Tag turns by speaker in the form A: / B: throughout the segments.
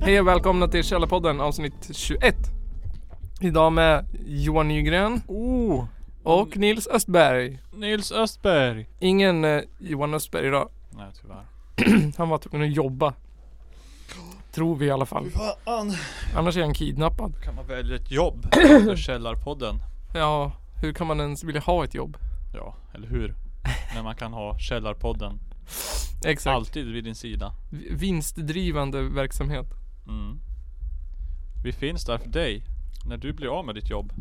A: Hej och välkomna till Källarpodden avsnitt 21. Idag med Johan Nygren
B: Oh,
A: och Nils Östberg.
B: Nils Östberg!
A: Ingen eh, Johan Östberg idag.
B: Nej tyvärr.
A: Han var tvungen att jobba. Tror vi i alla fall.
B: Fan,
A: Annars är han kidnappad.
B: kan man välja ett jobb för Källarpodden?
A: Ja, hur kan man ens vilja ha ett jobb?
B: Ja, eller hur? När man kan ha Källarpodden
A: Exakt.
B: alltid vid din sida.
A: V- Vinstdrivande verksamhet.
B: Mm. Vi finns där för dig när du blir av med ditt jobb.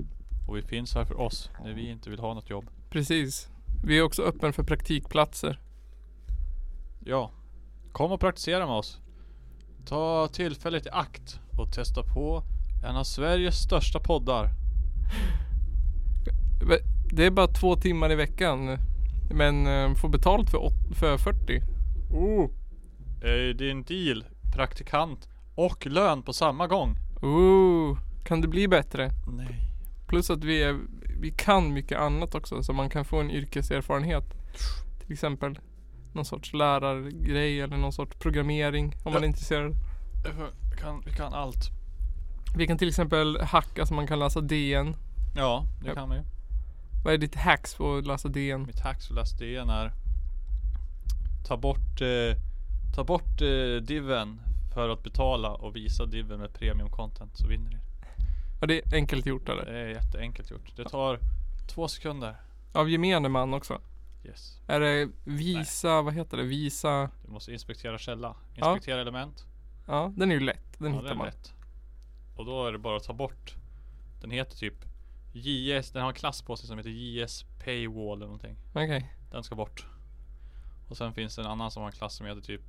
B: Och vi finns här för oss när vi inte vill ha något jobb.
A: Precis. Vi är också öppen för praktikplatser.
B: Ja, kom och praktisera med oss. Ta tillfället i akt och testa på en av Sveriges största poddar.
A: V- Det är bara två timmar i veckan. Men eh, får betalt för, åt- för 40.
B: Oh! Eh, det är en deal, praktikant och lön på samma gång.
A: Ooh, kan det bli bättre?
B: Nej.
A: Plus att vi, är, vi kan mycket annat också så man kan få en yrkeserfarenhet. Till exempel någon sorts lärargrej eller någon sorts programmering om man är
B: Ja.
A: intresserad.
B: Vi kan, vi kan allt.
A: Vi kan till exempel hacka så man kan läsa DN.
B: Ja, det
A: Ja.
B: kan vi.
A: Vad är ditt hacks för att läsa DN?
B: Mitt hacks för läs DN är Ta bort, eh, ta bort eh, diven för att betala och visa diven med premium content så vinner ni.
A: Ja, det är enkelt gjort eller?
B: Det är jätteenkelt gjort. Det tar två sekunder.
A: Av gemene man också.
B: Yes.
A: Är det visa, vad heter det? Visa.
B: Du måste inspektera källa.
A: Ja.
B: Inspektera element.
A: Ja, den är ju lätt. Den
B: Ja,
A: hittar
B: det är
A: man.
B: lätt. Och då är det bara att ta bort. Den heter typ JS, den har en klass på sig som heter JS Paywall eller någonting.
A: Okej.
B: Den ska bort. Och sen finns det en annan som har en klass som heter typ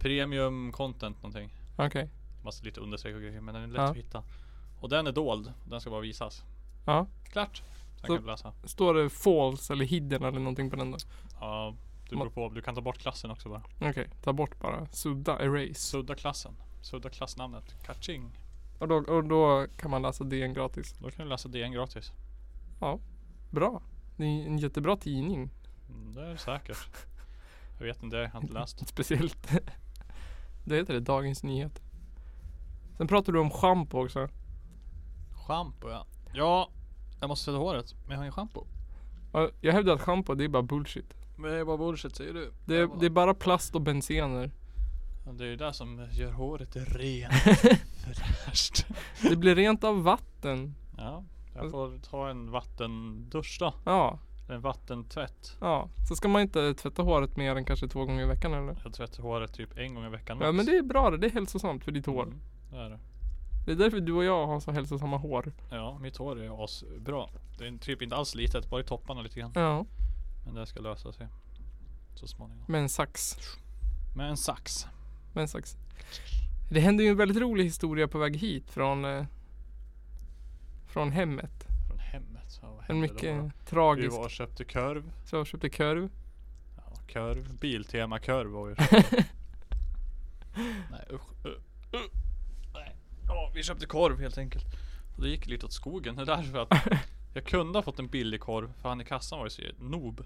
B: Premium content någonting.
A: Okej.
B: Massa lite understreck och grejer men den är lätt
A: Ja.
B: att hitta. Och den är dold. Den ska bara visas.
A: Ja.
B: Klart. Sen
A: Så-
B: kan du läsa.
A: Står det false eller hidden eller någonting på den då?
B: Ja, du
A: Ma-
B: beror på. Du kan ta bort klassen också bara.
A: Okej, ta bort bara. Sudda, erase.
B: Sudda klassen. Sudda klassnamnet. Catching.
A: Och då, och då kan man läsa DN gratis.
B: Då kan du läsa DN gratis.
A: Bra. Det är en jättebra tidning.
B: Mm, Det är säkert. Jag vet inte, jag har inte läst.
A: Speciellt. det heter det, Dagens Nyheter. Sen pratar du om schampo också.
B: Shampoo ja. Ja, jag måste tvätta håret. Men jag har ingen shampoo.
A: Ja, Jag hävdar att schampo det är bara bullshit.
B: Men det är bara bullshit säger du.
A: Det är, det är bara plast och bensener.
B: Det är ju det som gör håret rent. Fräscht.
A: Det blir rent av vatten.
B: Ja,
A: Mm.
B: jag får ta en vattendusch då.
A: Ja,
B: Eller En vattentvätt.
A: ja. Så ska man inte tvätta håret mer än kanske två gånger i veckan eller?
B: Jag tvättar håret typ en gång i veckan.
A: Ja
B: max.
A: men det är bra det. Det är hälsosamt för ditt hår.
B: Mm, det är det.
A: Det är därför du och jag har så hälsosamma hår.
B: Ja, mitt hår är asbra. Det är typ inte alls litet, bara i topparna lite grann.
A: Ja.
B: Men det ska lösa sig. Så småningom.
A: Med en sax.
B: Med en sax.
A: Med en sax. Det hände ju en väldigt rolig historia på väg hit från eh, från hemmet.
B: Från hemmet. Ja, vad
A: En
B: hände då
A: mycket
B: då? Vi
A: tragisk.
B: var och köpte korv.
A: Så jag köpte korv.
B: Ja, korv. Biltema korv var vi köpte. Nej usch. Uh, uh. Nej. Ja, vi köpte korv helt enkelt. Och det gick lite åt skogen. Det är därför att jag kunde ha fått en billig korv. För han i kassan var ju så noob.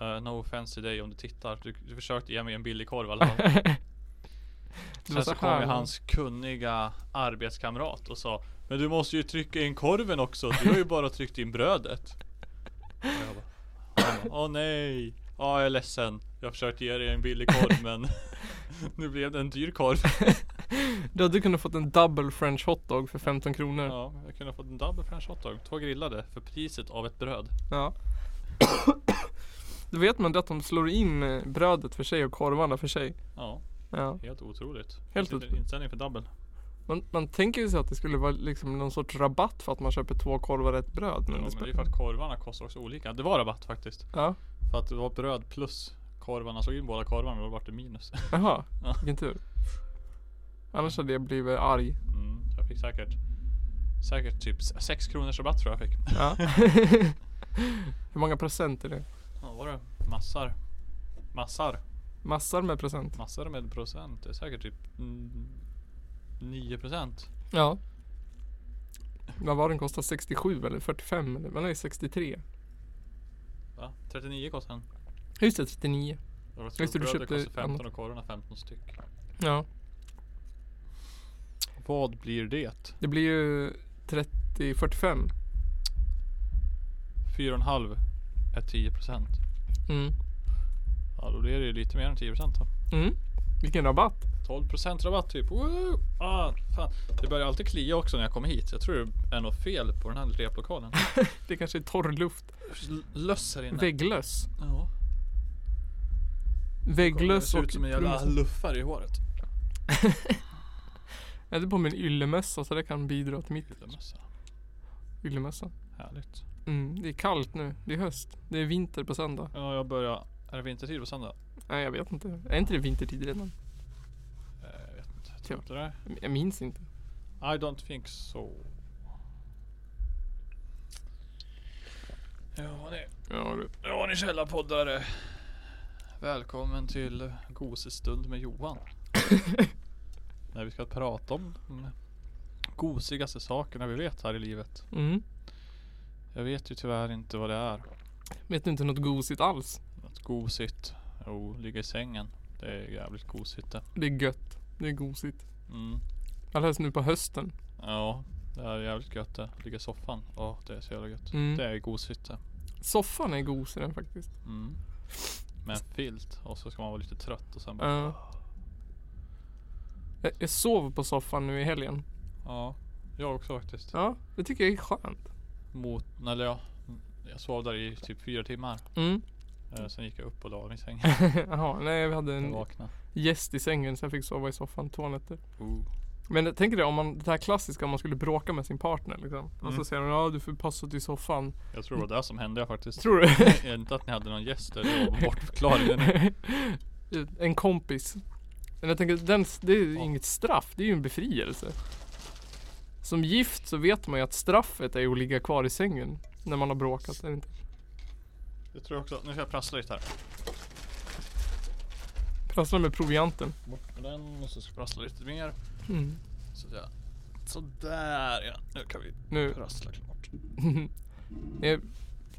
B: Eh, no offense till dig om du tittar. Du, du försökte ge mig en billig korv i alla fall.
A: Det var
B: Sen
A: så
B: så kom ju
A: här.
B: hans kunniga arbetskamrat och sa Men du måste ju trycka in korven också, du har ju bara tryckt in brödet Och jag bara, han bara, Åh nej, ja jag är ledsen Jag försökte ge dig en billig korv men Nu blev det en dyr korv
A: Då hade du kunnat fått en double french hotdog för 15 kronor. Ja.
B: Ja, jag kunde ha fått en double french hotdog, två grillade för priset av ett bröd
A: Då vet man det att de slår in eh, brödet för sig och korvarna för sig.
B: Ja,
A: Ja.
B: helt otroligt
A: Helt
B: Vilken
A: otroligt.
B: Inställning för double
A: Man, man tänker ju sig att det skulle vara liksom någon sorts rabatt för att man köper två korvar och ett bröd. Men
B: ja, Men
A: det
B: det är
A: spelar-
B: ju för att korvarna kostar också olika, det var rabatt faktiskt
A: Ja,
B: För att det var bröd plus korvarna, slog in båda korvarna och då vart det minus
A: jaha.
B: Ja.
A: Vilken tur. Annars hade jag blivit arg.
B: Mm, jag fick säkert Säkert typ 6 kronors rabatt tror jag jag fick.
A: Ja. Hur många procent är det?
B: Ja, vad var det? Massar. Massar.
A: Massor med procent.
B: Massar med procent. Det är säkert typ mm, 9 procent.
A: Ja. Vad var den kostar 67 eller 45 eller? Men nej 63.
B: Va? 39 kostar den.
A: Just det, 39.
B: Och
A: Just det, du
B: storbrödet
A: köpte
B: kostar 15
A: annat.
B: och korvarna 15 styck.
A: Ja.
B: Vad blir det?
A: Det blir ju 30, 45.
B: 4,5 är 10 procent.
A: Mm.
B: Ja då blir det ju lite mer än 10 procent då.
A: Mm. Vilken rabatt.
B: 12 procent rabatt typ. Woo! Ah, fan. Det börjar alltid klia också när jag kommer hit. Jag tror det är något fel på den här replokalen.
A: Det kanske är torr luft.
B: L- Löss här inne.
A: Vägglöss.
B: Ja.
A: Vägglöss
B: ser
A: och
B: ut som en jävla
A: plums.
B: luffare i håret.
A: Jag hade på mig en yllemössa så det kan bidra till mitt
B: Yllemössa.
A: yllemössa.
B: Härligt.
A: Mm. Det är kallt nu. Det är höst. Det är vinter på söndag.
B: Ja, jag börjar. Är det vintertid på söndag?
A: Nej, jag vet inte. Är inte det vintertid redan?
B: Eh, Jag vet inte. Jag
A: Ja.
B: tror inte det.
A: Jag minns inte.
B: I don't think so. Ja ni,
A: Ja, du.
B: ja, ni källarpoddare. Välkommen till Gosestund med Johan. När vi ska prata om de gosigaste sakerna vi vet här i livet.
A: Mm.
B: Jag vet ju tyvärr inte vad det är.
A: Vet du inte något gosigt alls?
B: Något gosigt. Jo, ligga i sängen. Det är jävligt gosigt det.
A: Det är gött. Det är gosigt.
B: Mm.
A: Alldeles nu på hösten.
B: Ja, det är jävligt gött det. Ligga i soffan. Åh, det är så jävla gött.
A: Mm.
B: Det är gosigt det.
A: Soffan är gosigare faktiskt.
B: Mm. Med en filt och så ska man vara lite trött och sen bara
A: Ja. Jag, jag sov på soffan nu i helgen.
B: Ja, jag också faktiskt.
A: Ja, det tycker jag är skönt.
B: Mot, eller ja, jag sov där i typ fyra timmar.
A: Mm.
B: Eh, Sen gick jag upp och la mig i sängen.
A: Jaha, nej vi hade
B: Jag
A: en
B: vaknade.
A: gäst i sängen så jag fick sova i soffan två nätter.
B: Ooh.
A: Men jag tänker det om man, det här klassiska om man skulle bråka med sin partner liksom. Och så
B: Mm.
A: säger hon ja du får passa till soffan.
B: Jag tror det var det som hände faktiskt.
A: Tror du?
B: Eh, Inte att ni hade någon gäst eller var bortförklaringen.
A: en kompis. Men jag tänker den, det är ju
B: Ja.
A: inget straff, det är ju en befrielse. Som gift så vet man ju att straffet är ju att ligga kvar i sängen. När man har bråkat eller inte.
B: Jag tror också, nu ska jag prassla lite här.
A: Prassla med provianten.
B: Bort med den och så ska jag prassla lite mer.
A: Mm.
B: Sådär. Sådär ja, nu kan vi
A: Nu.
B: prassla klart.
A: Jag-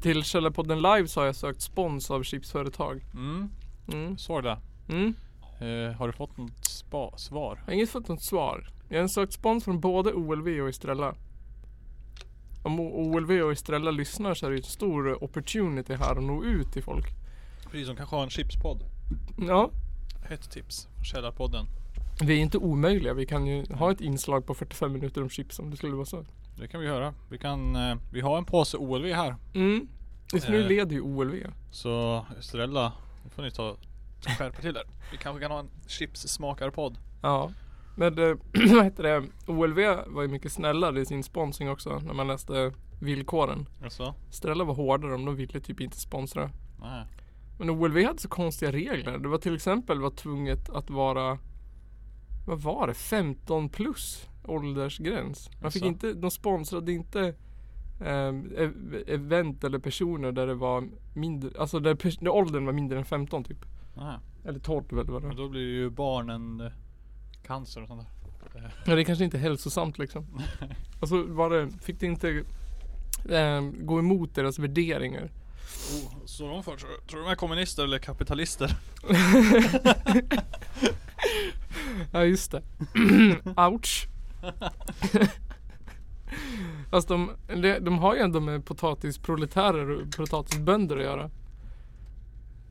A: Till Källarpodden live så har jag sökt spons av chipsföretag.
B: Mm,
A: Mm.
B: jag såg det.
A: Mm.
B: Eh, har du fått något spa- svar?
A: Jag har inte fått något svar. Jag har sökt spons från både OLV och Estrella. Om O- OLV och Estrella lyssnar så är det ju en stor opportunity här att nå ut till folk.
B: Precis, de kanske har en chipspodd.
A: Ja,
B: Ett tips, Källarpodden.
A: vi är inte omöjliga. Vi kan ju ha ett inslag på 45 minuter om chips om det skulle vara så.
B: Det kan vi göra. Vi kan, eh, vi har en påse OLV här.
A: Mm. Just nu
B: Eh.
A: leder ju OLV.
B: Så Estrella, nu får ni ta skärpa till er. Vi kanske kan ha en chipssmakarpodd.
A: Ja. Men eh, vad heter det? OLV var ju mycket snällare i sin sponsring också när man läste villkoren.
B: Jaså?
A: Estrella var hårdare om de ville typ inte sponsra.
B: Nej.
A: Men OLV hade så konstiga regler. Det var till exempel var tvunget att vara Vad var det? 15 plus åldersgräns. Man fick
B: Jaså?
A: inte, de sponsrade inte eh, ev- event eller personer där det var mindre, alltså där, pers- där åldern var mindre än 15 typ.
B: Nej.
A: Eller 12 eller vad det
B: Men
A: var.
B: då blir ju barnen eh, cancer och sånt där.
A: Ja, det är kanske inte är hälsosamt liksom. Och så var det, fick det inte eh, gå emot deras värderingar.
B: Oh, så de för, tror du- tror du de är kommunister eller kapitalister?
A: Ja just det. Ouch. Fast de, de, de har ju ändå med potatisproletärer och potatisbönder att göra.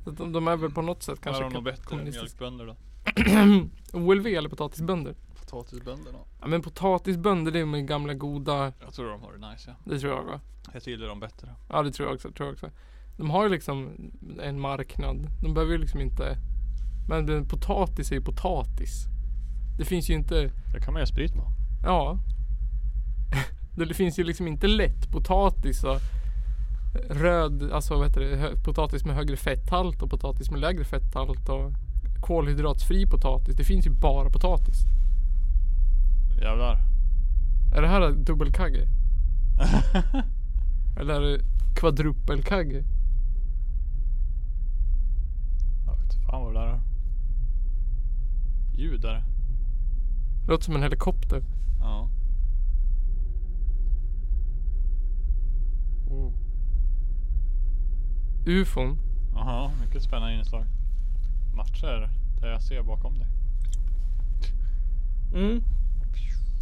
A: Så att de, de är väl på något sätt
B: Kanske
A: kanske
B: är de något bättre än
A: kommunistiska.
B: mjölkbönder då?
A: OLV eller potatisbönder?
B: Potatisbönder då?
A: Ja men potatisbönder det är med gamla goda,
B: Jag tror de har det nice ja.
A: det tror jag va?
B: Jag gillar dem bättre.
A: Ja det tror jag också, tror jag också. De har ju liksom en marknad. De behöver ju liksom inte Men den- potatis är ju potatis. Det finns ju inte
B: Det kan man göra sprit på.
A: Ja. Det finns ju liksom inte lätt potatis och röd, alltså vad heter det, hö- potatis med högre fetthalt och potatis med lägre fetthalt och kolhydratsfri potatis. Det finns ju bara potatis.
B: Jävlar.
A: Är det här dubbelkagge? Eller är det kvadrupelkagge?
B: Jag vet fan vad det där är. Ljud där.
A: Det låter som en helikopter.
B: Ja.
A: Mm. Ufon.
B: Jaha, mycket spännande inslag. Matcher där jag ser bakom dig.
A: Mm.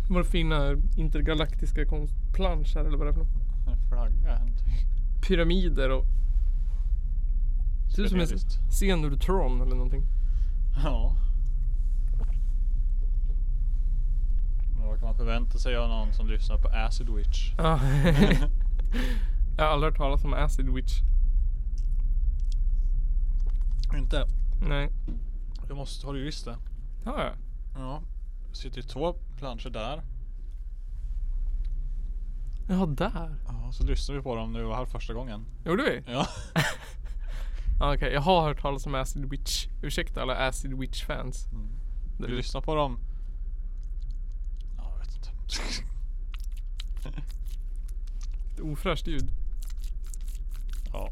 A: Vår fina intergalaktiska konstplansch här eller vad det är för något.
B: En flagga. en typ.
A: Pyramider och... Det ser ut som en
B: Surrealist.
A: Xenurtron eller någonting.
B: Ja. Men Vad kan man förvänta sig av någon som lyssnar på Acid Witch?
A: Ja. Jag har aldrig hört talas om Acid Witch.
B: Inte?
A: Nej.
B: Du måste, har du visst det?
A: Har jag?
B: Ja. Sitter ju två planscher där.
A: Ja, där.
B: Ja, så lyssnar vi på dem när vi var här första gången.
A: Gjorde vi?
B: Ja.
A: Ja, Okej, jag har hört talas om Acid Witch. Ursäkta alla Acid Witch-fans.
B: Vi
A: Det-
B: Mm. lyssnar på dem. Ja, jag vet inte.
A: det är Ofräscht ljud.
B: Ja.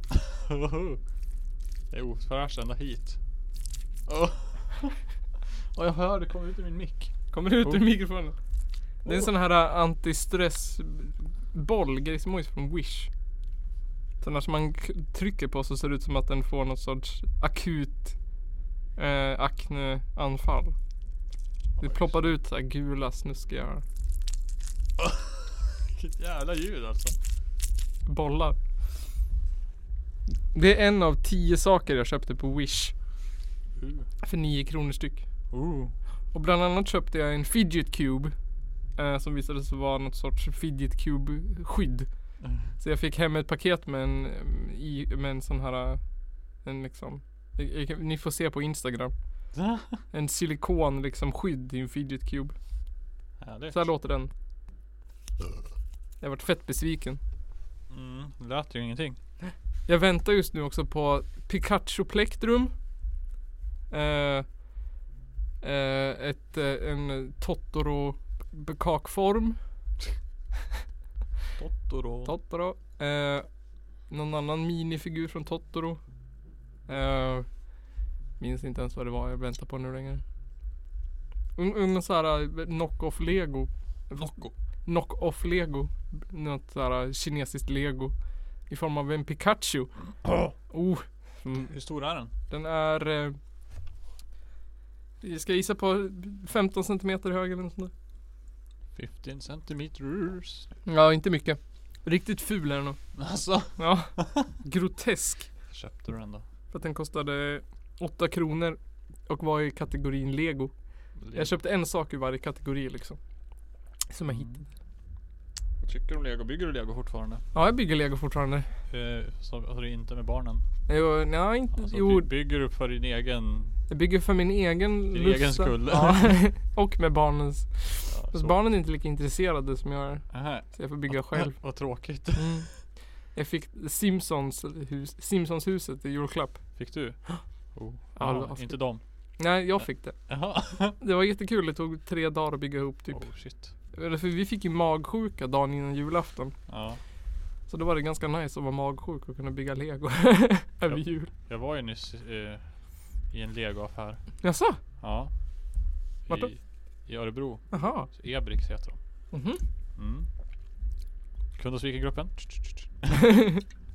B: Det är ofräscht ända hit. Åh. Och jag hör det kommer ut ur min mick.
A: Kommer det ut ur
B: Oh.
A: mikrofonen? Det är en
B: Oh.
A: sån här äh, antistressboll, grejsimojs från Wish. Sån här som man k- trycker på så ser det ut som att den får något sorts akut eh, akneanfall. Det ploppade ut så här gula snuskiga
B: Vilket jävla ljud alltså.
A: bollar. Det är en av tio saker jag köpte på Wish
B: Uh.
A: för nio kronor styck.
B: Uh.
A: Och bland annat köpte jag en fidget cube. Eh, som visade sig vara något sorts fidget cube skydd.
B: Mm.
A: Så jag fick hem ett paket med en, mm, i, med en sån här, eh, en liksom. Jag, jag, kan- ni får se på Instagram. En silikon liksom skydd i en fidget cube.
B: Härligt.
A: Så här låter den. Jag vart fett besviken.
B: Mm, det lät ju ingenting.
A: Jag väntar just nu också på Pikachu Plektrum. Eh, eh, ett, eh, en Totoro b- kakform.
B: Totoro.
A: Totoro. Eh, någon annan minifigur från Totoro. Eh, minns inte ens vad det var jag väntar på nu längre. Un- un- Någon sån här eh, knock-off lego.
B: Nocco.
A: Knock-off lego. Något sån här kinesiskt lego. I form av en Pikachu. Oh. Mm,
B: Hur stor är den?
A: Den är... Eh, jag ska gissa på 15 centimeter hög eller något sånt
B: 15 centimeters.
A: där. Ja, inte mycket. Riktigt ful är den nog.
B: Alltså.
A: Ja. Grotesk.
B: Köpte du den då?
A: För att den kostade 8 kronor och var i kategorin lego. Jag köpte en sak ur varje kategori liksom. Som jag hittade.
B: Vad Mm. Tycker du om lego? Bygger du lego fortfarande?
A: Ja, jag bygger lego fortfarande.
B: Eh, så, alltså det är inte med barnen?
A: Jo, nej, inte,
B: Alltså
A: jo
B: du bygger upp för din egen...
A: jag bygger för min egen
B: Din
A: lusta.
B: egen skull.
A: Ja, och med barnens.
B: Ja,
A: Fast barnen är inte lika intresserade som jag är.
B: Aha.
A: Så jag får bygga själv.
B: Vad tråkigt.
A: Mm. Jag fick Simpsons hus, Simpsons huset i julklapp.
B: Fick du? Oh.
A: Ja,
B: Jaha,
A: det var-
B: inte dem.
A: Nej, jag fick det.
B: Jaha.
A: Det var jättekul. Det tog tre dagar att bygga ihop typ.
B: Oh shit.
A: Eller För vi fick ju magsjuka dagen innan julafton.
B: Ja.
A: Så då var det ganska nice att vara magsjuk och kunna bygga lego över
B: Ja.
A: jul.
B: Jag var ju nyss eh, i en legoaffär.
A: Jaså?
B: Ja.
A: Vart då?
B: I, I Örebro.
A: Jaha.
B: Så Ebrix heter de.
A: Mhm.
B: Mm. Kund och svikargruppen.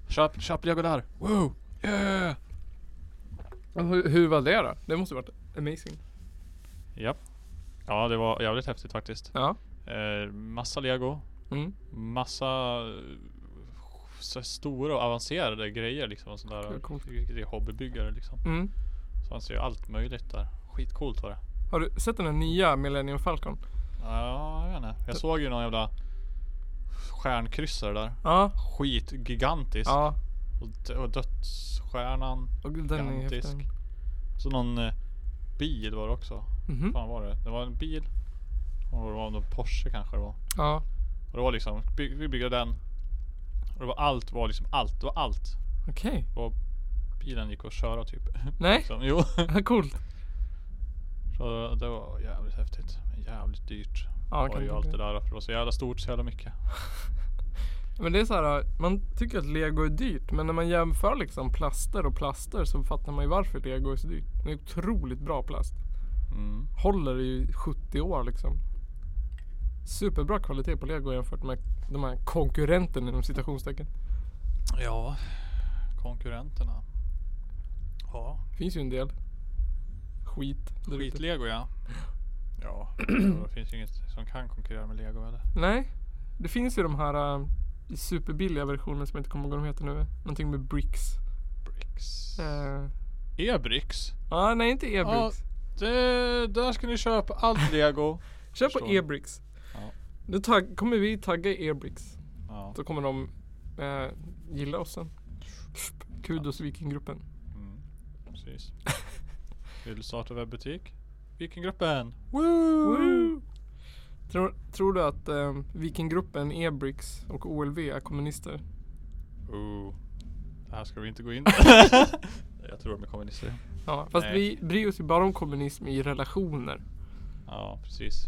B: köp, köp lego där. Wow. Yeah.
A: Men Hur, hur var det då? Det måste ju varit amazing.
B: Japp. Ja det var jävligt häftigt faktiskt.
A: Ja.
B: Eh, massa lego.
A: Mm.
B: Massa eh, så stora och avancerade grejer liksom. Och sånt där.
A: Det är coolt.
B: Det är hobbybyggare liksom.
A: Mm.
B: Så han ser ju allt möjligt där. Skitcoolt var det.
A: Har du sett den här nya Millennium Falcon?
B: Ja, jag vet inte. Jag såg ju någon jävla stjärnkryssare där.
A: Ja.
B: Skitgigantisk.
A: Ja.
B: Och, d- och dödsstjärnan.
A: Och den är
B: Gigantisk.
A: häftig.
B: Så någon eh, bil var det också.
A: Mhm.
B: Fan var det? Det var en bil. Och det var någon Porsche kanske det var.
A: Ja.
B: Och det var liksom, by- vi byggde den. Och det var allt, var liksom allt, det var allt.
A: Okej.
B: Bilen gick att köra typ.
A: Nej.
B: Liksom. Jo.
A: Coolt.
B: Så det var jävligt häftigt. Men jävligt dyrt.
A: Ja,
B: var
A: kan
B: ju
A: du-
B: allt det där. För det var så jävla stort, så jävla mycket.
A: Men det är så här. Man tycker att lego är dyrt. Men när man jämför liksom plaster och plaster så fattar man ju varför lego är så dyrt. Det är otroligt bra plast.
B: Mm.
A: håller i 70 år liksom. Superbra kvalitet på lego jämfört med de här konkurrenterna inom citationstecken.
B: Ja, konkurrenterna. Ja,
A: Finns ju en del. Skit. där ute.
B: skitlego ja. Ja, det finns ju inget som kan konkurrera med lego eller?
A: Nej. Det finns ju de här äh, superbilliga versionerna som jag inte kommer ihåg vad de heter nu. Någonting med bricks.
B: Bricks.
A: Eh,
B: E-bricks.
A: ah, nej inte e-bricks.
B: Det, där ska ni köpa allt lego.
A: Kör på
B: förstår.
A: e-bricks.
B: Ja.
A: Nu tag- kommer vi tagga e-bricks.
B: Ja.
A: Då kommer de eh, gilla oss sen. Kudos Vikinggruppen.
B: Mm. Precis. Vill du starta webbutik? Vikingruppen.
A: Woo! Tror, tror du att eh, Vikinggruppen, e-bricks och OLV är kommunister?
B: Ooh. Det här ska vi inte gå in på. Jag tror de är kommunister.
A: Ja, fast
B: Nej.
A: vi bryr oss ju bara om kommunism i relationer.
B: Ja, precis.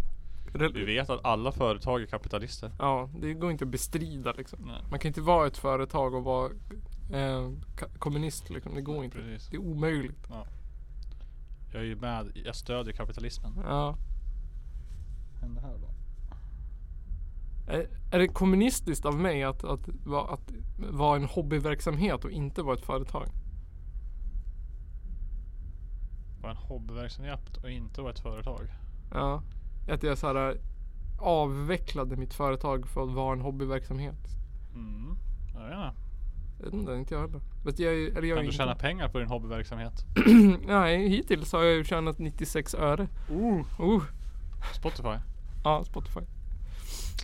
A: Rel-
B: Vi vet att alla företag är kapitalister.
A: Ja, det går inte att bestrida liksom.
B: Nej.
A: Man kan inte vara ett företag och vara eh, ka- kommunist liksom. Det går inte.
B: Precis.
A: Det är omöjligt.
B: Jag är ju med, jag stödjer kapitalismen.
A: Ja.
B: Händer här då?
A: Är, är det kommunistiskt av mig att, att, va- att vara en hobbyverksamhet och inte vara ett företag?
B: Var en hobbyverksamhet och inte var ett företag.
A: Ja. Att jag så här eh, avvecklade mitt företag för att vara en hobbyverksamhet.
B: Mm. Jag vet inte.
A: Jag vet inte, inte jag heller. Vet jag, eller jag är
B: Kan du
A: inte-
B: tjäna pengar på din hobbyverksamhet?
A: Nej, hittills har jag ju tjänat 96 öre.
B: Ooh.
A: Oh,
B: Spotify?
A: ja, Spotify.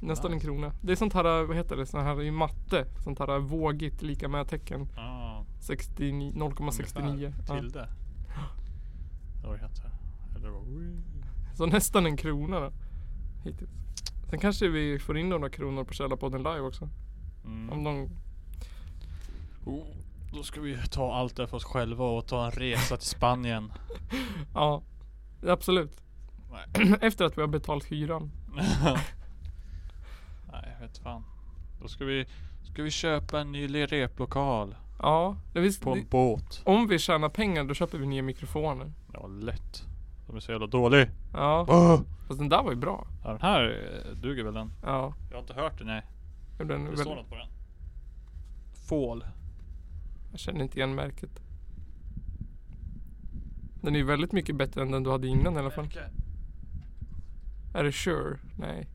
A: Nästan en
B: Nice.
A: krona. Det är sånt här, äh, vad heter det, sånt här i matte. Sånt här äh, vågigt lika med tecken.
B: Ja.
A: 69 0,69.
B: ungefär.
A: Ja.
B: Tilde. Det var det heter. Eller vad?
A: Så nästan en krona då. Hittills. Sen kanske vi får in några kronor på Källarpodden live också. Om
B: Mm.
A: någon...
B: Oh. Då ska vi ta allt det för oss själva och ta en resa till Spanien.
A: Ja, absolut. Efter att vi har betalt hyran.
B: Nej, vet fan. Då ska vi, ska vi köpa en ny le- replokal
A: Ja, det visst,
B: på en båt.
A: om vi tjänar pengar då köper vi nya mikrofoner.
B: Ja, lätt. De är så jävla dålig.
A: Ja,
B: Oh.
A: fast den där var ju bra.
B: Ja, den här eh, duger väl den?
A: Ja,
B: Jag har inte hört den, nej.
A: det blev en
B: Det
A: väldigt-
B: står något på den. Fål.
A: Jag känner inte igen märket. Den är ju väldigt mycket bättre än den du hade innan i alla fall. Är det Sure? Nej.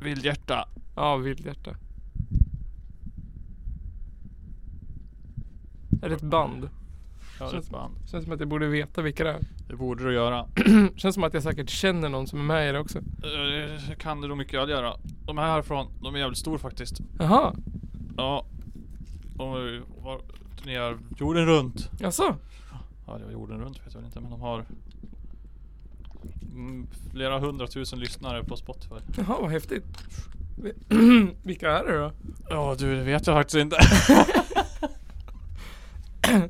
B: Vildhjärta.
A: Ja, Vildhjärta. Är det ett band?
B: Ja, det är ett
A: Känns-
B: band.
A: Känns som att jag borde veta vilka det är.
B: Det borde du göra.
A: Känns som att jag säkert känner någon som är med i det också.
B: Eh, kan du nog mycket väl göra. De här härifrån, de är jävligt stor faktiskt.
A: Jaha,
B: Ja. De har ju var- turnerar jorden runt.
A: jaså?
B: Ja, det var jorden runt vet jag väl inte, men de har mm, flera hundratusen lyssnare på Spotify.
A: Jaha, vad häftigt. Vilka är det då?
B: Ja du, det vet jag faktiskt inte.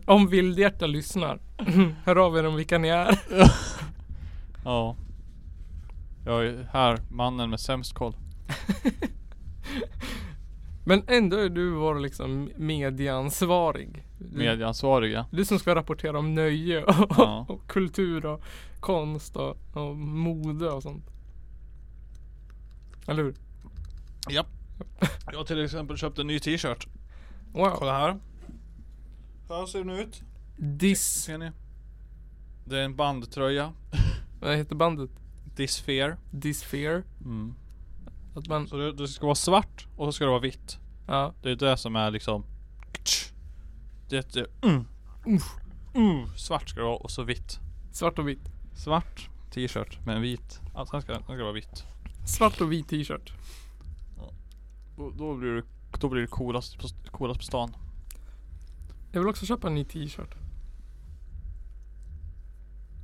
A: Om Vildhjärta lyssnar, hör av er om vilka ni är.
B: ja. Jag är här, mannen med sämst koll.
A: Men ändå är du vår liksom medieansvarig. Du-
B: Medieansvariga.
A: Du som ska rapportera om nöje och,
B: Ja.
A: och kultur och konst och, och mode och sånt. Eller hur?
B: Japp. Jag har till exempel köpt en ny t-shirt.
A: Wow.
B: Kolla här. Här ser den ut.
A: Dis...
B: Ser ni? Det är en bandtröja.
A: Vad heter bandet?
B: Disfear.
A: Disfear.
B: Mm.
A: Att man...
B: Så det, det ska vara svart och så ska det vara vitt.
A: Ja.
B: Det är det som är liksom... Det är... Mm. Mm. Svart ska det vara och så vitt.
A: Svart och vitt.
B: Svart t-shirt med en vit. Alltså den ska, den ska vara vitt.
A: Svart och vit t-shirt.
B: Då, då blir det, då blir det coolast, på, coolast på stan.
A: Jag vill också köpa en ny t-shirt.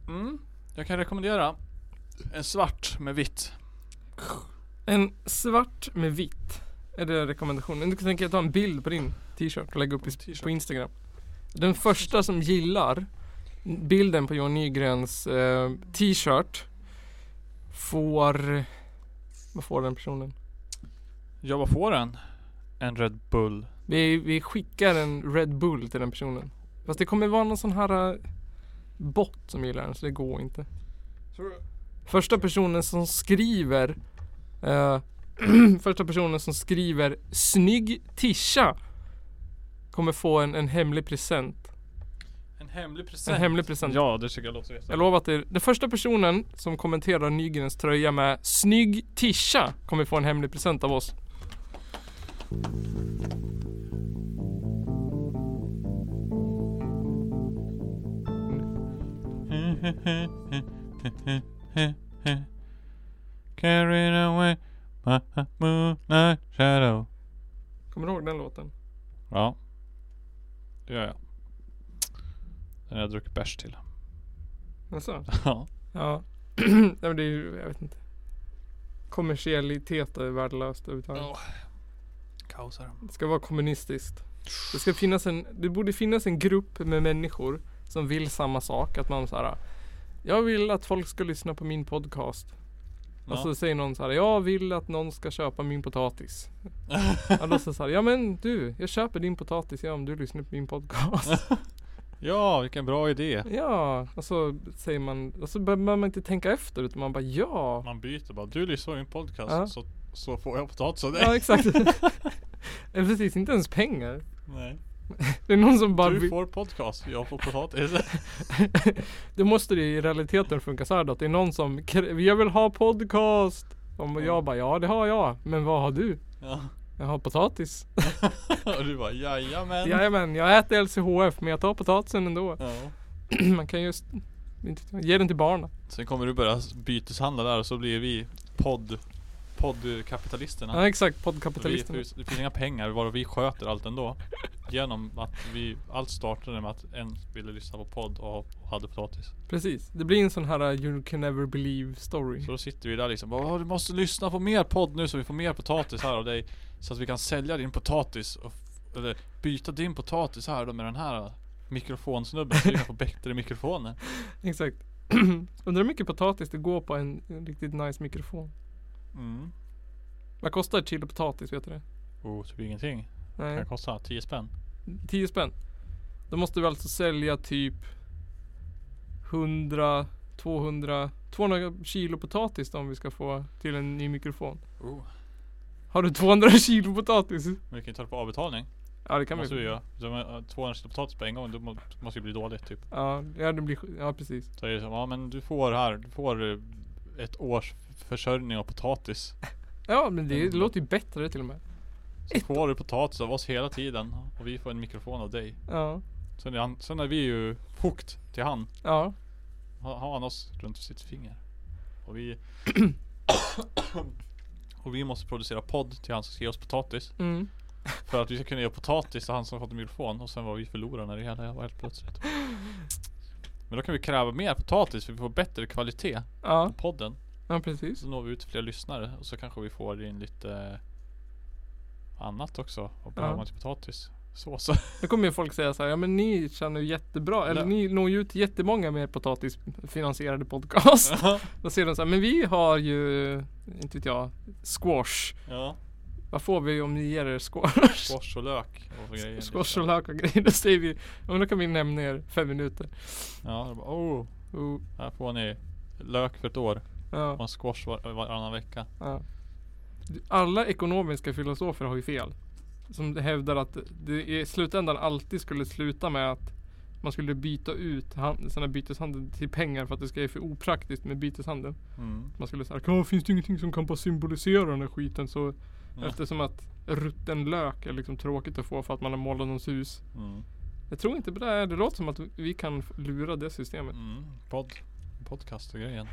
B: Mm. Jag kan rekommendera en svart med vitt.
A: En svart med vitt. Är det rekommendationen? Du kan tänka dig att ta en bild på din t-shirt och lägga upp
B: En
A: i,
B: t-shirt.
A: på Instagram. Den första som gillar bilden på Johan Nygrens eh, t-shirt får... Vad får den personen?
B: Jag bara får en. En Red Bull.
A: Vi, vi skickar en Red Bull till den personen. Fast det kommer vara någon sån här eh, bot som gillar den så det går inte. Första personen som skriver eh, första personen som skriver Snygg tisha Kommer få en, en hemlig present.
B: En hemlig present.
A: En hemlig present.
B: Ja, det tycker jag låter
A: Jag
B: vettigt.
A: lovar att det är den första personen som kommenterar Nygrens tröja med Snygg tisha kommer få en hemlig present av oss.
B: Carried away by a moonlight shadow.
A: Kommer du ihåg den låten?
B: Ja. Det gör jag. Den har jag druckit bärs till.
A: Jaså?
B: Ja.
A: Ja. Nej men det är ju, jag vet inte. Kommersialitet är värdelöst överhuvudtaget.
B: Kaosar
A: Det ska vara kommunistiskt. Det ska finnas en, det borde finnas en grupp med människor som vill samma sak. Att man såhär, jag vill att folk ska lyssna på min podcast. Och så säger någon såhär, jag vill att någon ska köpa min potatis. Ja då så såhär, ja men du, jag köper din potatis ja, om du lyssnar på min podcast.
B: ja, vilken bra idé.
A: ja, och så säger man, och så behöver man inte tänka efter utan man bara ja.
B: Man byter bara. Du lyssnar på min podcast
A: Ja.
B: så, så får jag potatis av dig.
A: Ja exakt. Eller precis, inte ens pengar.
B: Nej.
A: Det är någon som bara
B: Du
A: vill-
B: får podcast, jag får potatis.
A: Då måste det i realiteten funka så här då, att det är någon som krä- Jag vill ha podcast! Om
B: Ja.
A: jag bara ja det har jag, men vad har du?
B: ja.
A: Jag har potatis.
B: Och du bara jajamän.
A: Jajamän, jag äter LCHF men jag tar potatisen ändå.
B: Ja.
A: Man kan just inte, ge den till barnen.
B: Sen kommer du börja byteshandla där och så blir vi podd poddkapitalisterna.
A: Ja exakt,
B: Vi,
A: poddkapitalisterna.
B: det finns inga pengar, bara vi sköter allt ändå. Genom att vi, allt startade med att en ville lyssna på podd och hade potatis.
A: Precis, det blir en sån här uh, you can never believe story.
B: Så då sitter vi där liksom bara, "Åh, du måste lyssna på mer podd nu så vi får mer potatis här av dig. Så att vi kan sälja din potatis och, f- eller byta din potatis här då med den här mikrofonsnubben så vi kan få bättre mikrofoner.
A: Exakt. Undrar hur mycket potatis det går på en, en riktigt nice mikrofon.
B: Mm.
A: Vad kostar ett kilo potatis, vet du det?
B: Oh, typ ingenting. Kan
A: Nej,
B: det kosta 10 spänn?
A: 10 spänn. Då måste vi alltså sälja typ 100, 200, 200 kilo potatis då, om vi ska få till en ny mikrofon.
B: Oh.
A: Har du 200 kilo potatis?
B: Men vi kan ju ta det på avbetalning.
A: Ja det kan
B: måste vi
A: vi.
B: göra. De har, eh, 200 kilo potatis på en gång, det må, måste ju bli dåligt typ.
A: Ja, ja, det blir, ja precis.
B: Så är det som, ja men du får här, du får eh, ett års försörjning av potatis.
A: Ja men det
B: Mm.
A: låter ju bättre till och med.
B: Så får du potatis av oss hela tiden och vi får en mikrofon av dig.
A: Ja,
B: Sen är, han, sen är vi ju hooked till han.
A: ja.
B: Ha- Har han oss runt sitt finger. Och vi... och vi måste producera podd till han som ska ge oss potatis.
A: Mm.
B: För att vi ska kunna ge potatis till han som har fått en mikrofon. Och sen var vi förlorarna i det hela var helt plötsligt. Men då kan vi kräva mer potatis för vi får bättre kvalitet på
A: Ja,
B: podden.
A: ja precis.
B: Så når vi ut till fler lyssnare och så kanske vi får in lite annat också. Och behöver man till potatis. Sås.
A: Då kommer ju folk säga så här, ja men ni känner ju jättebra, eller
B: Ja.
A: ni når ju ut till jättemånga med potatisfinansierade podcast. Då ser de så här, men vi har ju, inte vet jag, squash.
B: ja.
A: Vad får vi om ni ger er squash?
B: Squash och lök och grejer.
A: Squash och lök och grejer. Då säger vi, ja men då kan vi nämna er fem minuter.
B: Ja, det bara, oh,
A: Och,
B: här får ni lök för ett år och
A: ja,
B: en squash var, varannan vecka.
A: ja. Alla ekonomiska filosofer har ju fel. Som hävdar att det i slutändan alltid skulle sluta med att man skulle byta ut hand- sån här byteshandel till pengar för att det ska vara för opraktiskt med byteshandel.
B: Mm.
A: Man skulle säga, "Ja, finns det ingenting som kan bara symbolisera den här skiten så
B: Ja.
A: Eftersom att rutten lök är liksom tråkigt att få för att man har målat någons hus.
B: Mm.
A: Jag tror inte på det. här. Det låter som att vi kan f- lura det systemet.
B: Mm. Pod, podcast och grejen.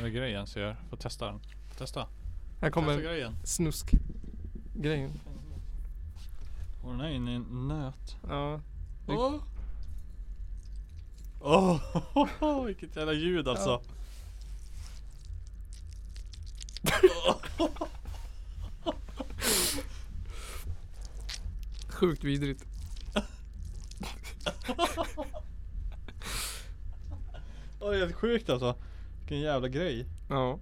B: Det är grejen så jag får testa den. Testa.
A: Här
B: Testa
A: kommer
B: grejen.
A: snusk-grejen.
B: Och den är inne i en nöt.
A: Ja. Vi-
B: Åh! Åh! vilket jävla ljud alltså.
A: Sjukt vidrigt.
B: Åh, det är helt sjukt alltså. Vilken jävla grej.
A: Ja.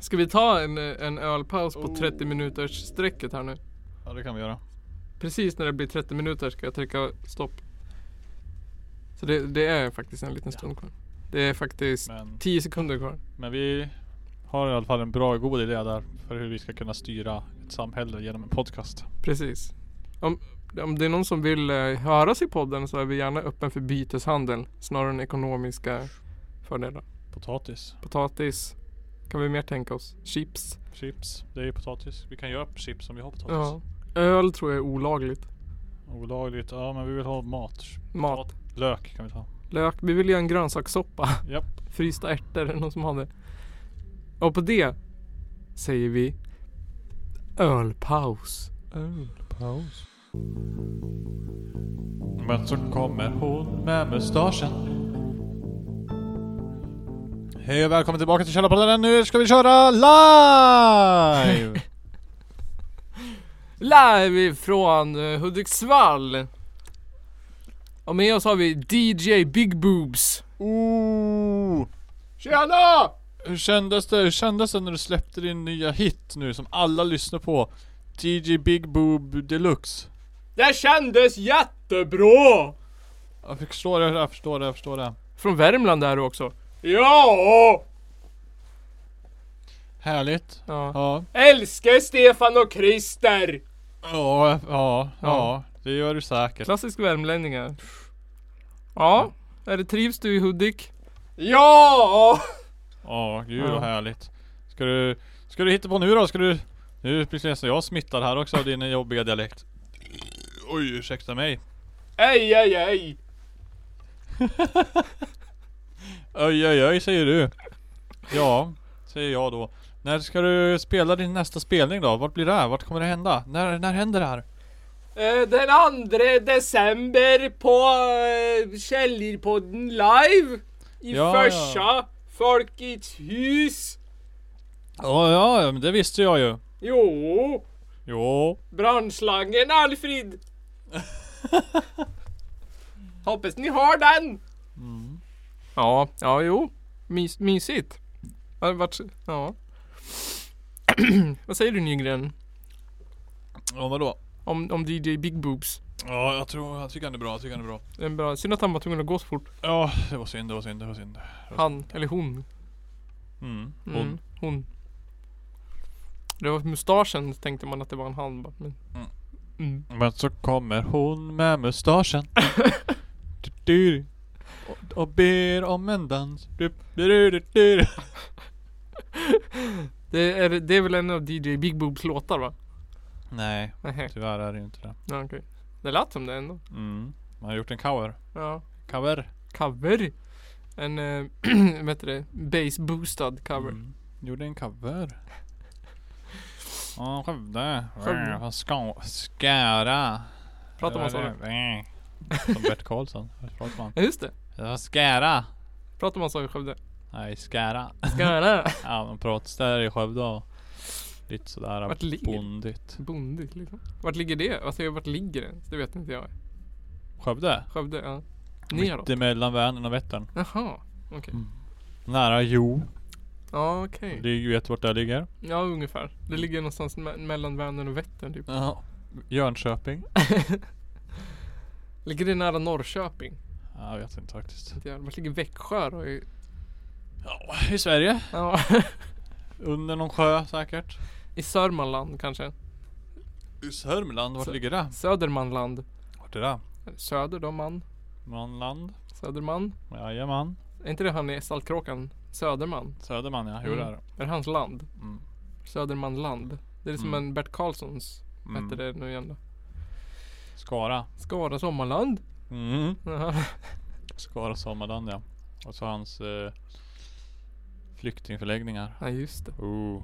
A: Ska vi ta en, eh, en ölpaus på
B: Oh.
A: 30 minuters sträcket här nu?
B: Ja det kan vi göra.
A: Precis när det blir 30 minuter ska jag trycka stopp. Så det, det är faktiskt en liten stund kvar. Det är faktiskt
B: Men,
A: 10 sekunder kvar.
B: men vi har i alla fall en bra god idé där för hur vi ska kunna styra ett samhälle genom en podcast.
A: Precis. Om, om det är någon som vill eh, höras i podden så är vi gärna öppen för byteshandel snarare än ekonomiska fördelar.
B: Potatis,
A: Potatis kan vi mer tänka oss. Chips.
B: chips, det är ju potatis. Vi kan göra upp chips om vi har potatis.
A: Ja. Öl tror jag är olagligt.
B: Olagligt, ja men vi vill ha mat.
A: Mat.
B: Lök kan vi ta.
A: Lök. Vi vill göra en grönsakssoppa.
B: Japp.
A: Frysta ärtor, är det någon som har det? Och på det säger vi ölpaus.
B: Paus. Men så kommer hon med mustaschen. Hej och välkommen tillbaka till Källarpodden. Nu ska vi köra live!
A: Live ifrån eh, Hudiksvall. Och med oss har vi DJ Big Boobs.
B: Ooh. Tjena! Hur kändes det? Hur kändes det när du släppte din nya hit nu som alla lyssnar på? TG Big Boob Deluxe.
A: Det kändes jättebra!
B: Jag förstår det, jag förstår det, jag förstår det.
A: Från Värmland är du också.
B: Ja! Härligt.
A: Ja.
B: Ja.
A: Älskar Stefan och Christer!
B: Ja, ja, ja. Det gör du säkert.
A: Klassisk värmlänningar. Ja, är det trivs du i Hudik?
B: Ja! Ja, gud
A: Ja.
B: vad härligt. Ska du, ska du hitta på nu då? Ska du... Nu blir det så jag smittar här också av din jobbiga dialekt. Oj, ursäkta mig.
A: Ej, ej, ej!
B: Oj, oj, oj säger du. Ja, säger jag då. När ska du spela din nästa spelning då? Vart blir det här? Vart kommer det hända? När, när händer det här?
A: Eh, Den andra december på eh, Källarpodden live. I
B: Ja,
A: Försa.
B: ja.
A: Folkets hus.
B: Ja, ja, ja, men det visste jag ju.
A: Jo.
B: Jo.
A: Brandslangen Alfred. Hoppas ni har den.
B: Mm.
A: Ja, ja jo. Mys, mysigt. Har det varit, ja. Vad säger du Nygren?
B: Ja, vadå?
A: Om, om DJ Big Boobs?
B: Ja, jag tror, jag tycker han är bra, jag tycker han är bra.
A: Det är en bra, synd att han var tvungen att gå så fort.
B: Ja, det var synd, det var synd, det var synd.
A: Han, eller hon.
B: Mm.
A: Mm,
B: Hon.
A: hon. Det var mustaschen tänkte man att det var en han bara, men...
B: Mm.
A: Mm.
B: Men så kommer hon med mustaschen. Du, du, och, och ber om en dans. Du, du, du, du, du.
A: Det, är, det är väl en av DJ Big Boobs låtar va?
B: Nej,
A: Nähä,
B: tyvärr är det ju inte det.
A: ja, okej. Det lät som det ändå.
B: Mm. Man har gjort en cover.
A: Ja.
B: Cover.
A: Cover. En, eh, vad heter det? Bass boostad cover.
B: Mm. Gjorde en cover. Ja, Skövde.
A: Skövde.
B: Äh, Från Ska- Skära.
A: Pratar man så? då?
B: Äh. Som Bert Karlsson. Hur pratar man?
A: Ja just det.
B: Ja, Skära.
A: Pratar man så i Skövde?
B: Nej, Skära.
A: Ska jag det?
B: Ja, man pratar där i Skövde och lite sådär
A: Vart ligger det?
B: bondigt.
A: Bondigt liksom. Vart ligger det? Alltså vart ligger det? Det vet inte jag.
B: Skövde?
A: Skövde? Ja. Neråt?
B: Mittemellan Vänern och Vättern.
A: Jaha. Okej.
B: Nära Jo.
A: Ja okej.
B: Du vet vart det ligger?
A: Ja ungefär. Det ligger någonstans me- mellan Vänern och Vättern typ.
B: Ja. Jönköping?
A: Ligger det nära Norrköping?
B: Ja, jag vet inte faktiskt.
A: Inte jag. Vart ligger Växjö då? I-
B: Ja, i Sverige?
A: Ja.
B: Under någon sjö säkert.
A: I Sörmanland kanske?
B: I Sörmland, vart
A: Sö-
B: ligger det?
A: Södermanland?
B: Vart är det?
A: Söder då man?
B: Manland?
A: Söderman?
B: Jajamän.
A: Är inte det han i Saltkråkan? Söderman?
B: Söderman ja, jo
A: Mm.
B: det är det.
A: Är det hans land?
B: Mm.
A: Södermanland? Det är som
B: Mm.
A: en Bert Karlssons. Vad
B: Mm.
A: hette det nu igen då?
B: Skara.
A: Skara Sommarland?
B: Mm.
A: Jaha.
B: Skara Sommarland ja. Och så hans eh, flyktingförläggningar.
A: Ja just det.
B: Oh.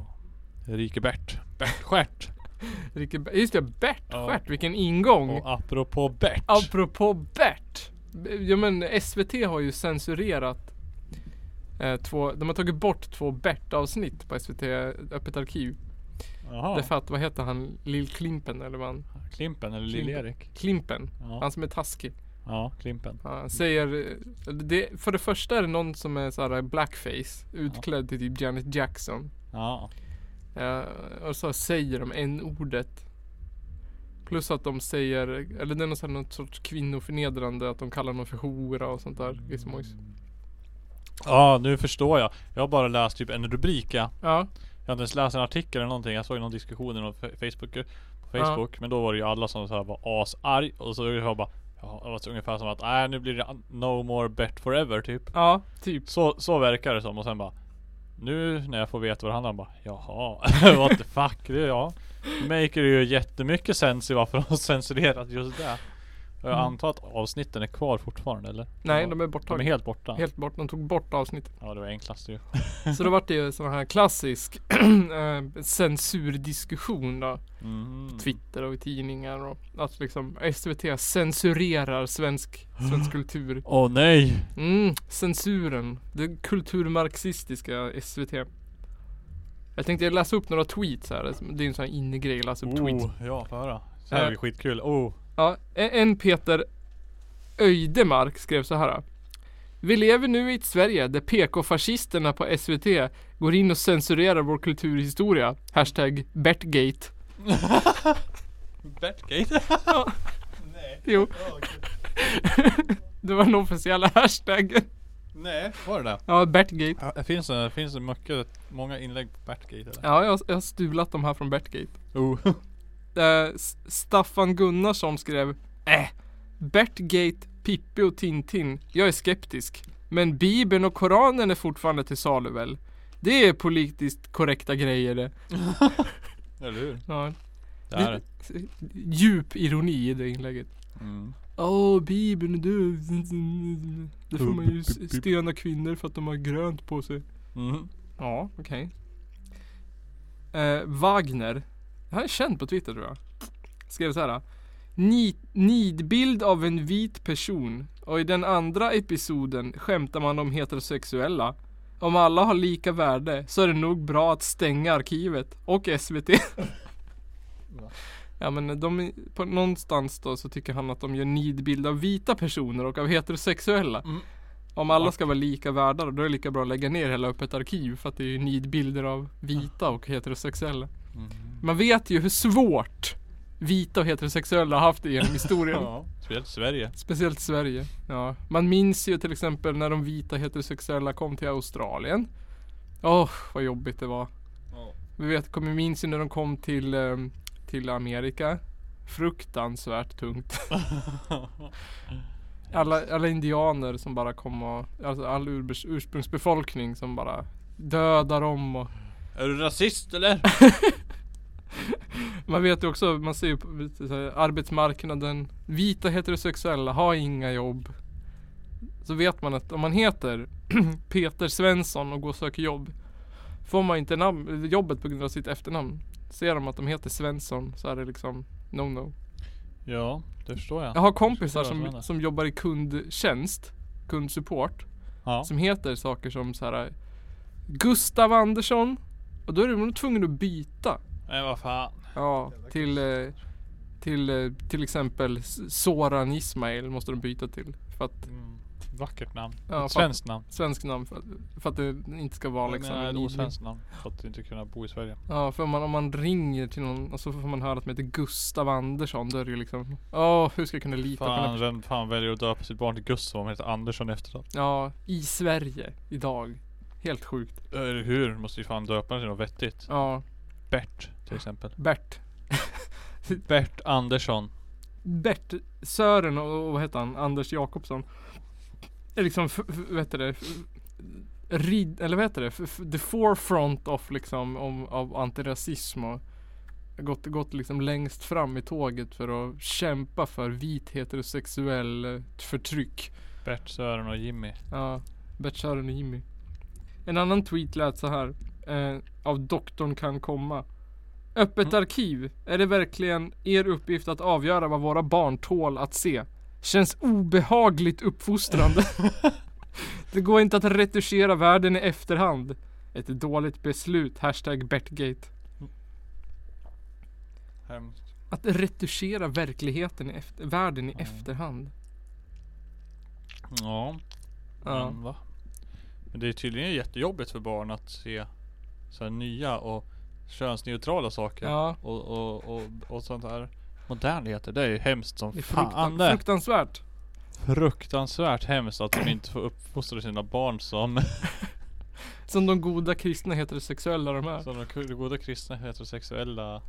B: Rike Bert. Bert Stjärt.
A: Rike Be- just det, Bert
B: Ja.
A: Stjärt. Vilken ingång.
B: Och apropå Bert.
A: Apropå Bert. Ja men SVT har ju censurerat eh, två, de har tagit bort två Bert avsnitt på SVT Öppet Arkiv.
B: Jaha.
A: Därför att vad heter han, Lill Klimpen eller vad han?
B: Klimpen eller
A: Klimpen.
B: Lill-Erik.
A: Klimpen.
B: Ja.
A: Han som är taskig.
B: ja, Klimpen.
A: Ja, Han säger, eh, det, för det första är det någon som är såhär blackface. Utklädd till typ Janet Jackson.
B: Ja.
A: Eh, och så säger de en ordet Plus att de säger, eller det är någon, sån här, någon sorts kvinnoförnedrande, att de kallar någon för hora och sånt där. Gissmojs.
B: Ja, nu förstår jag. Jag har bara läst typ en rubrik ja.
A: Ja,
B: Jag har inte ens läst en artikel eller någonting. Jag såg någon diskussion i någon fe- Facebook, eh, på
A: Ja.
B: Facebook. Men då var det ju alla som så här var asarg. Och så var jag bara Ja, det var så ungefär som att nej nu blir det an- no more bet forever typ.
A: ja, typ.
B: Så, så verkar det som och sen bara Nu när jag får veta vad det handlar om bara Jaha, what the fuck, det ja Det maker ju jättemycket sens i varför de har censurerat just det Och Jag
A: Mm.
B: antar att avsnitten är kvar fortfarande eller?
A: Nej, de
B: Ja,
A: är
B: de är
A: borttagna.
B: helt borta?
A: Helt bort, de tog bort avsnittet.
B: Ja det var enklast ju
A: Så då vart det ju sån här klassisk eh, censurdiskussion då.
B: mm.
A: Twitter och i tidningar och att liksom SVT censurerar svensk, svensk kultur.
B: Åh nej!
A: Mm, censuren. Det kulturmarxistiska SVT. Jag tänkte läsa upp några tweets här. Alltså, Det är en sån här innegrej, läsa upp tweets.
B: Oh, ja få höra Det här
A: Eh.
B: blir skitkul, oh
A: Ja, e- en Peter Öjdemark skrev så här. Vi lever nu i ett Sverige där PK-fascisterna på SVT går in och censurerar vår kulturhistoria. Hashtag Bertgate.
B: Batgate?
A: Ja.
B: nej,
A: Jo, det var den officiella hashtaggen.
B: nej Var det det?
A: Ja, Bertgate.
B: Ja, det finns det, finns det mycket, många inlägg på Batgate eller?
A: Ja, jag, har- jag har stulat de här från Bertgate.
B: Oh.
A: Eh, S- Staffan Gunnarsson skrev Äh, Bertgate, Pippi och Tintin. Jag är skeptisk. Men Bibeln och Koranen är fortfarande till salu väl? Det är politiskt korrekta grejer det.
B: Eller hur?
A: Ja,
B: Det här är
A: Lite Djup ironi i det inlägget.
B: mm.
A: Åh, Bibeln är död. Det får man ju s- stena kvinnor för att de har grönt på sig.
B: Mm.
A: Ja, okej. Eh, Wagner. Han är känd på Twitter tror jag. Skrev så här. "Ni- Nidbild av en vit person. Och i den andra episoden skämtar man om heterosexuella. Om alla har lika värde så är det nog bra att stänga arkivet och SVT.
B: Va?
A: ja men de, på, någonstans då så tycker han att de gör nidbild av vita personer och av heterosexuella.
B: Mm.
A: Om alla ska vara lika värda då är det lika bra att lägga ner hela öppet arkiv för att det är ju nidbilder av vita och heterosexuella.
B: Mm.
A: Man vet ju hur svårt vita och heterosexuella har haft det genom historien.
B: Ja, speciellt Sverige.
A: Speciellt Sverige. Ja. Man minns ju till exempel när de vita heterosexuella kom till Australien. Åh, vad jobbigt det var. Vi vet, kommer minns ju när de kom till, ehm, till Amerika. Fruktansvärt tungt. Alla, alla indianer som bara kom och, alltså all urbes- ursprungsbefolkning som bara dödar dem och
B: Är du rasist eller?
A: Man vet ju också, man ser ju på lite så här, arbetsmarknaden, vita heterosexuella har inga jobb. Så vet man att om man heter Peter Svensson och går och söker jobb får man inte namn, jobbet på grund av sitt efternamn. Ser de att de heter Svensson så är det liksom no no.
B: Ja, det förstår jag.
A: Jag har kompisar
B: Jag förstår vad du menar.
A: som, som jobbar i kundtjänst, kundsupport,
B: Ja.
A: som heter saker som så här Gustav Andersson och då är de tvungna att byta.
B: Men vad fan.
A: Ja, till, eh, till eh, till exempel S- Soran Ismail måste de byta till. För att,
B: Mm. Vackert namn.
A: Ja,
B: Ett svenskt namn.
A: svenskt namn för att, för att det inte ska vara
B: Jag
A: liksom
B: menar
A: en
B: ett
A: idé.
B: osvenskt namn. För att inte kunna bo i Sverige.
A: Ja, för om man, om man ringer till någon och så får man höra att man heter Gustav Andersson. Då är det ju liksom, åh hur ska jag kunna lita på den
B: Fan,
A: här?
B: vem fan väljer att döpa sitt barn till Gustav om han heter Andersson efteråt?
A: Ja, i Sverige idag. Helt sjukt.
B: Eller hur? Måste ju fan döpa den till något vettigt.
A: Ja,
B: Bert till exempel.
A: Bert.
B: Bert Andersson.
A: Bert Sören och, och vad heter han? Anders Jakobsson. Är liksom, f- f- vad heter det? F- Rid, eller vad heter det? F- f- The forefront of liksom, om, av antirasism och gått, gått liksom längst fram i tåget för att kämpa för vit heterosexuell eh, förtryck.
B: Bert, Sören och Jimmy.
A: Ja, Bert Sören och Jimmy. En annan tweet lät så här. Eh, av doktorn kan komma. Öppet
B: Mm.
A: arkiv. Är det verkligen er uppgift att avgöra vad våra barn tål att se? Känns obehagligt uppfostrande. det går inte att retuschera världen i efterhand. Ett dåligt beslut. Hashtag Bertgate.
B: Hemskt.
A: Att retuschera verkligheten i efter- världen i
B: Mm.
A: efterhand.
B: Ja.
A: Ja.
B: Men, va? Men det är tydligen jättejobbigt för barn att se så här nya och könsneutrala saker.
A: Ja.
B: Och, och, och, och sånt här modernheter. Det är ju hemskt som
A: Det är
B: fan
A: fruktan-
B: det.
A: fruktansvärt.
B: fruktansvärt hemskt att hon inte får uppfostra sina barn som,
A: Som de goda kristna heterosexuella de är.
B: som de ku- goda kristna heterosexuella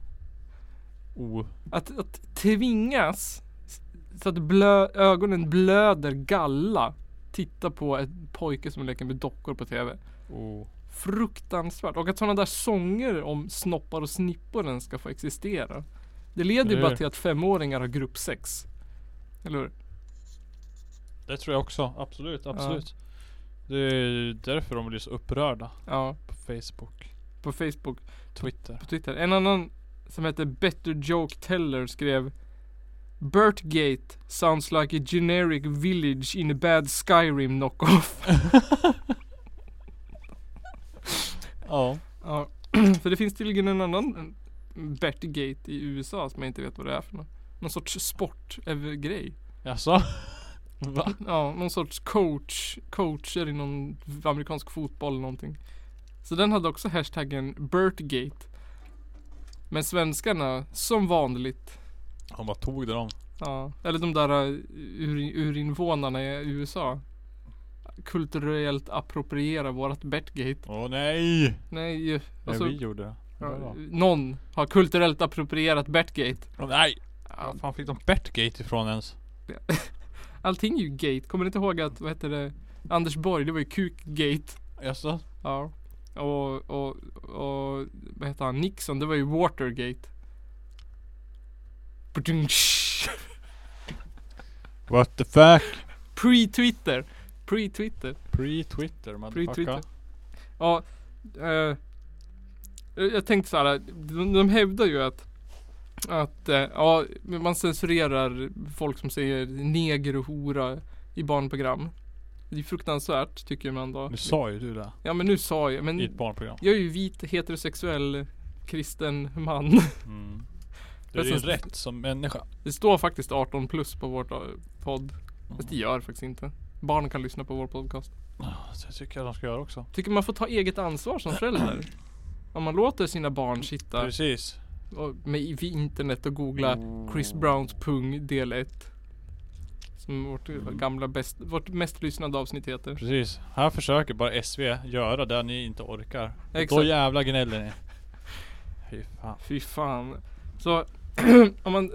B: o...
A: Att, att tvingas s- så att blö, ögonen blöder galla. Titta på en pojke som leker med dockor på tv.
B: o
A: Fruktansvärt. Och att sådana där sånger om snoppar och snippor ens ska få existera. Det leder ju
B: Eller
A: bara
B: hur?
A: till att femåringar har gruppsex. Eller hur?
B: det tror jag också, absolut, absolut. Det är därför de blir så upprörda
A: Ja,
B: på Facebook,
A: på Facebook.
B: Twitter.
A: på Twitter. En annan som heter Better Joke Teller skrev Burtgate sounds like a generic village in a bad Skyrim knockoff.
B: Ja.
A: ja, för det finns tydligen en annan Bertgate i USA som jag inte vet vad det är för någon. Någon sorts sportgrej.
B: Jaså? Va?
A: Ja, någon sorts coach, coacher i någon amerikansk fotboll eller någonting. Så den hade också hashtaggen Burtgate. Men svenskarna, som vanligt,
B: Han bara tog det dem.
A: Ja, eller de där eh, ur, urinvånarna i USA. Kulturellt appropriera vårat Betgate.
B: Åh nej!
A: Nej, ju- alltså,
B: nej, vi gjorde det. Det var
A: ja,
B: bra.
A: någon har kulturellt approprierat Betgate.
B: Åh, nej!
A: Ja,
B: Var fan fick de Bertgate ifrån ens?
A: Allting är ju gate. Kommer ni inte ihåg att, vad heter det? Anders Borg, det var ju kukgate.
B: Jaså?
A: Ja. Och, och, och vad heter han? Nixon, det var ju watergate. Pudunsch.
B: What the fuck?
A: Pre-Twitter. Pre-Twitter.
B: Pre-Twitter
A: Pre-Twitter.
B: motherfucker.
A: Ja, eh, jag tänkte så här. De, de hävdar ju att att eh, ja, man censurerar folk som säger neger och hora i barnprogram. Det är fruktansvärt tycker man då.
B: Nu sa ju du det.
A: Ja men nu sa jag,
B: I ett
A: men
B: barnprogram.
A: jag är ju vit heterosexuell kristen man.
B: Mm. Det är
A: Men
B: din
A: så-
B: rätt som människa.
A: Det står faktiskt 18 plus på vårt eh, podd. Fast det gör faktiskt inte. Barn kan lyssna på vår podcast.
B: Så jag tycker jag de ska göra också.
A: Tycker man får ta eget ansvar som förälder. Om man låter sina barn sitta
B: Precis.
A: och med i- vid internet och googla Chris Browns pung del 1. Som vårt
B: Mm.
A: gamla bäst, vårt mest lyssnade avsnitt heter.
B: Precis. Här försöker bara SV göra det ni inte orkar. Och Då
A: Exakt.
B: jävla gnäller ni. Fy fan.
A: Fy fan. Så om man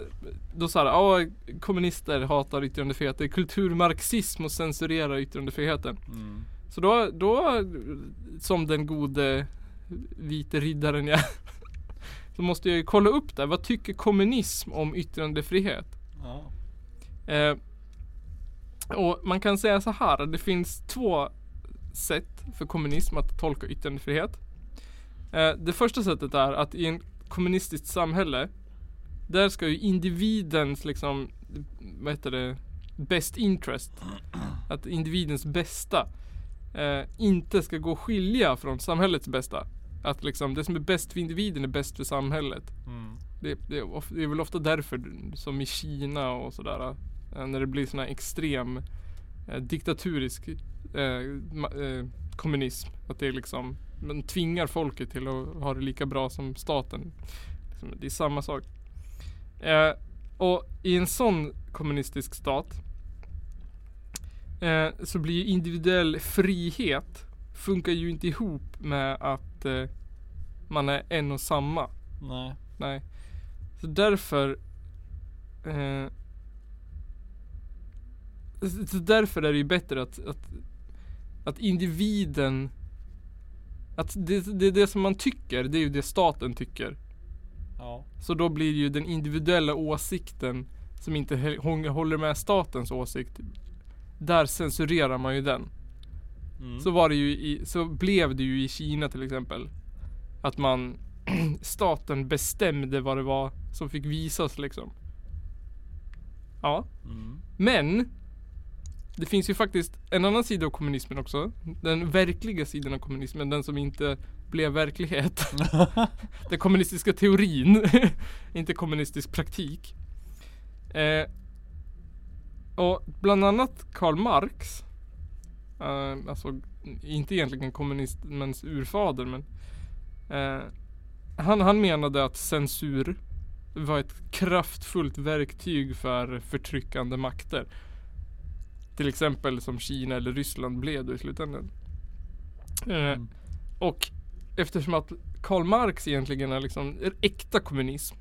A: då såhär, ja kommunister hatar yttrandefrihet. Det är kulturmarxism och censurera yttrandefriheten.
B: Mm.
A: Så då, då som den gode vite riddaren jag är, så måste jag ju kolla upp det. Vad tycker kommunism om yttrandefrihet?
B: Ja.
A: Eh, och man kan säga så här, det finns två sätt för kommunism att tolka yttrandefrihet. Eh, det första sättet är att i en kommunistiskt samhälle, där ska ju individens liksom, vad heter det, best interest, att individens bästa eh, inte ska gå att skilja från samhällets bästa. Att liksom det som är bäst för individen är bäst för samhället.
B: Mm.
A: Det, det, är of- det är väl ofta därför som i Kina och sådär eh, när det blir sån här extrem eh, diktaturisk eh, ma- eh, kommunism. Att det är liksom man tvingar folket till att ha det lika bra som staten. Liksom, Det är samma sak. Eh, och i en sån kommunistisk stat eh, så blir ju individuell frihet funkar ju inte ihop med att eh, man är en och samma.
B: Nej.
A: Nej. Så därför eh, så- Så därför är det ju bättre att, att, att individen Att det, det, det som man tycker, det är ju det staten tycker.
B: Ja.
A: Så då blir ju den individuella åsikten som inte hä- hå- håller med statens åsikt där censurerar man ju den.
B: Mm.
A: Så var det ju i, så blev det ju i Kina till exempel. Att man, staten bestämde vad det var som fick visas liksom. Ja,
B: Mm.
A: men det finns ju faktiskt en annan sida av kommunismen också. Den verkliga sidan av kommunismen, den som inte blev verklighet. Den kommunistiska teorin, inte kommunistisk praktik. Eh, och bland annat Karl Marx, eh, alltså inte egentligen kommunismens urfader men eh, han, han menade att censur var ett kraftfullt verktyg för förtryckande makter. Till exempel som Kina eller Ryssland blev då i slutändan. Eh,
B: Mm.
A: Och eftersom att Karl Marx egentligen är liksom är äkta kommunism.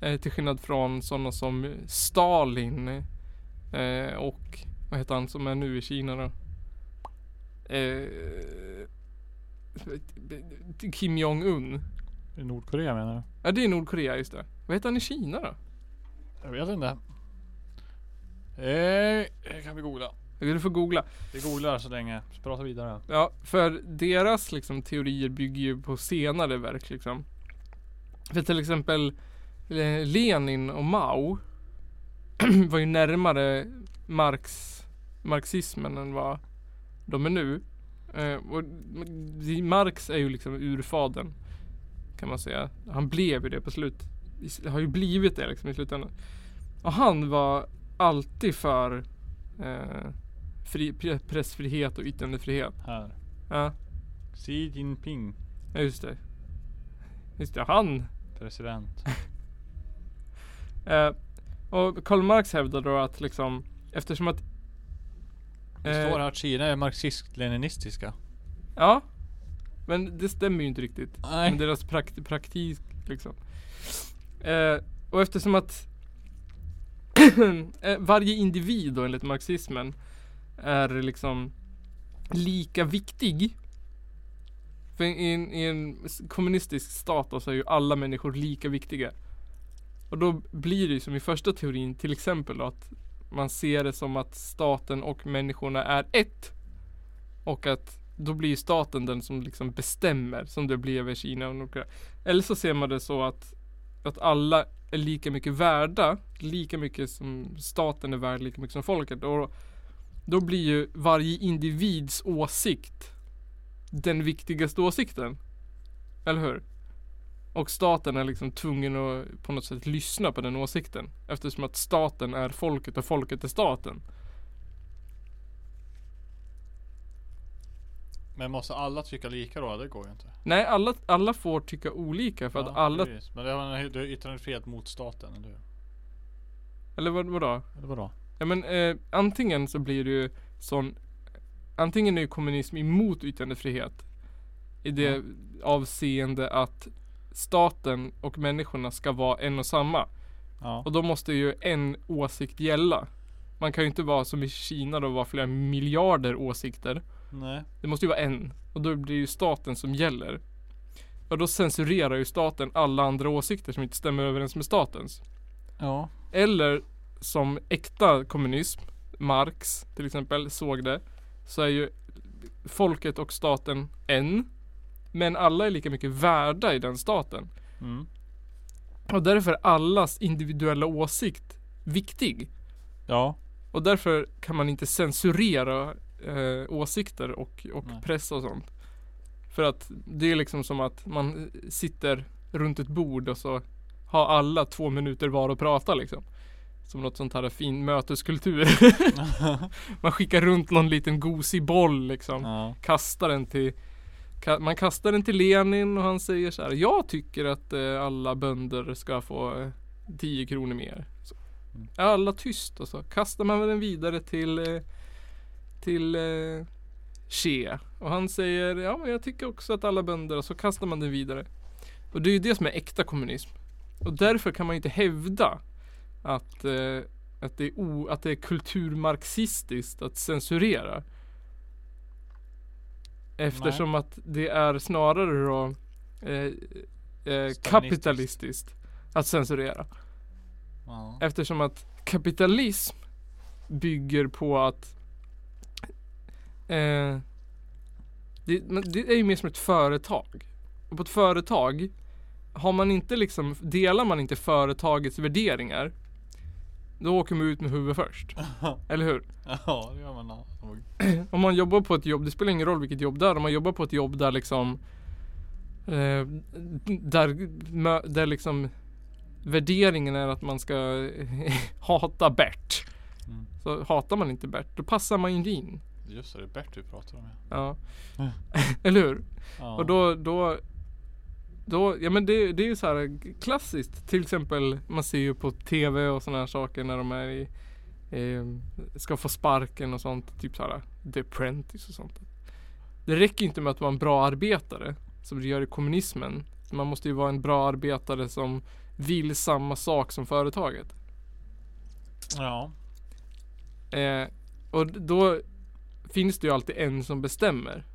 A: Eh, till skillnad från sådana som Stalin eh, och vad heter han som är nu i Kina då? Eh, Kim Jong-Un.
B: I Nordkorea menar du?
A: Ja det är Nordkorea just det. Vad heter han i Kina då?
B: Jag vet inte. Eh, det kan vi googla.
A: Du får googla.
B: Vi googlar så länge. Så prata vidare.
A: Ja, för deras liksom, teorier bygger ju på senare verk. Liksom. För till exempel eh, Lenin och Mao var ju närmare Marx, marxismen än vad de är nu. Eh, och m- Marx är ju liksom urfaden kan man säga. Han blev ju det på slut. i s- Har ju blivit det liksom i slutändan. Och han var alltid för eh, fri, pre- pressfrihet och yttrandefrihet.
B: Här.
A: Ja,
B: Xi Jinping.
A: ja, just det. Just det, han.
B: President.
A: Eh, och Karl Marx hävdar då att liksom eftersom att...
B: Det
A: eh,
B: står här att Kina är marxist-leninistiska.
A: Ja. Men det stämmer ju inte riktigt.
B: Nej.
A: Med deras prakt- praktik liksom. Eh, och eftersom att eh, varje individ då enligt marxismen är liksom lika viktig. För i en, i en s- kommunistisk stat då, så är ju alla människor lika viktiga. Och då blir det ju som i första teorin till exempel då, att man ser det som att staten och människorna är ett. Och att då blir ju staten den som liksom bestämmer som det blev i Kina och Nordkorea. Eller så ser man det så att, att alla är lika mycket värda, lika mycket som staten är värd, lika mycket som folket. Och då blir ju varje individs åsikt den viktigaste åsikten. Eller hur? Och staten är liksom tvungen att på något sätt lyssna på den åsikten. Eftersom att staten är folket och folket är staten.
B: Men måste alla tycka lika då? Det går ju inte.
A: Nej, alla, alla får tycka olika för att
B: Ja,
A: alla...
B: precis. Men det har en- det är yttrandefrihet mot staten, eller hur?
A: Eller vad, vadå?
B: Eller vadå?
A: Ja men eh, antingen så blir det ju sån Antingen är ju kommunism emot yttrandefrihet I det
B: Ja.
A: avseende att Staten och människorna ska vara en och samma
B: Ja.
A: Och då måste ju en åsikt gälla Man kan ju inte vara som i Kina då vara flera miljarder åsikter
B: Nej.
A: Det måste ju vara en Och då blir det ju staten som gäller Och då censurerar ju staten alla andra åsikter som inte stämmer överens med statens
B: Ja.
A: eller som äkta kommunism, Marx till exempel såg det, så är ju folket och staten en. Men alla är lika mycket värda i den staten.
B: Mm.
A: Och därför är allas individuella åsikt viktig.
B: Ja.
A: Och därför kan man inte censurera eh, åsikter och, och
B: Nej.
A: press och sånt. För att det är liksom som att man sitter runt ett bord och så har alla två minuter var att prata liksom. Som något sånt här fin möteskultur. man skickar runt någon liten gosig boll liksom.
B: ja.
A: Kastar den till ka- man kastar den till Lenin och han säger så här. Jag tycker att eh, alla bönder ska få eh, 10 kronor mer. Så.
B: Mm.
A: är Alla tyst och så kastar man den vidare till eh, till eh, Che och han säger ja men jag tycker också att alla bönder och så kastar man den vidare. Och det är ju det som är äkta kommunism. Och därför kan man ju inte hävda att, eh, att, det, är o, att det är kulturmarxistiskt att censurera. Eftersom att det är snarare då eh, eh, kapitalistiskt att censurera.
B: ja.
A: Eftersom att kapitalism bygger på att eh, det, men det är ju mer som ett företag. Och på ett företag har man inte liksom, delar man inte företagets värderingar då åker man ut med huvudet först. Eller hur?
B: Ja, det gör man nog.
A: Om man jobbar på ett jobb, det spelar ingen roll vilket jobb det är. Om man jobbar på ett jobb där liksom eh, där, mö- där liksom värderingen är att man ska hata Bert.
B: Mm.
A: Så hatar man inte Bert, då passar man inte in.
B: Just det, det är Bert du pratar om ja.
A: Ja.
B: Mm.
A: Eller hur?
B: ja.
A: Och då, då, då, ja men det, det är ju så här klassiskt. Till exempel, man ser ju på TV och sådana här saker när de är i, eh, ska få sparken och sånt. Typ såhär The Apprentice och sånt. Det räcker inte med att vara en bra arbetare som du gör i kommunismen. Man måste ju vara en bra arbetare som vill samma sak som företaget.
B: Ja.
A: Eh, och då finns det ju alltid en som bestämmer.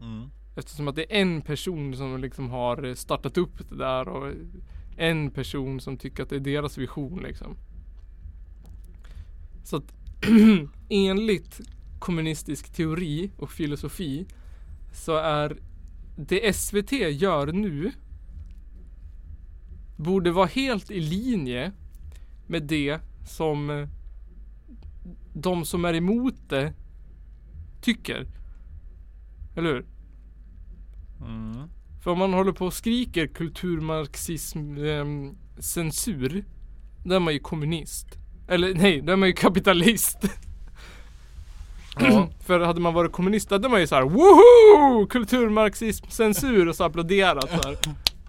B: Mm.
A: Eftersom att det är en person som liksom har startat upp det där och en person som tycker att det är deras vision liksom. Så att enligt kommunistisk teori och filosofi så är det SVT gör nu borde vara helt i linje med det som eh, de som är emot det tycker. Eller hur?
B: Mm.
A: För om man håller på och skriker kulturmarxism ehm, censur. Då är man ju kommunist. Eller nej, då är man ju kapitalist.
B: Ja.
A: För hade man varit kommunist då hade man ju såhär woho! Kulturmarxism censur och så applåderat så här.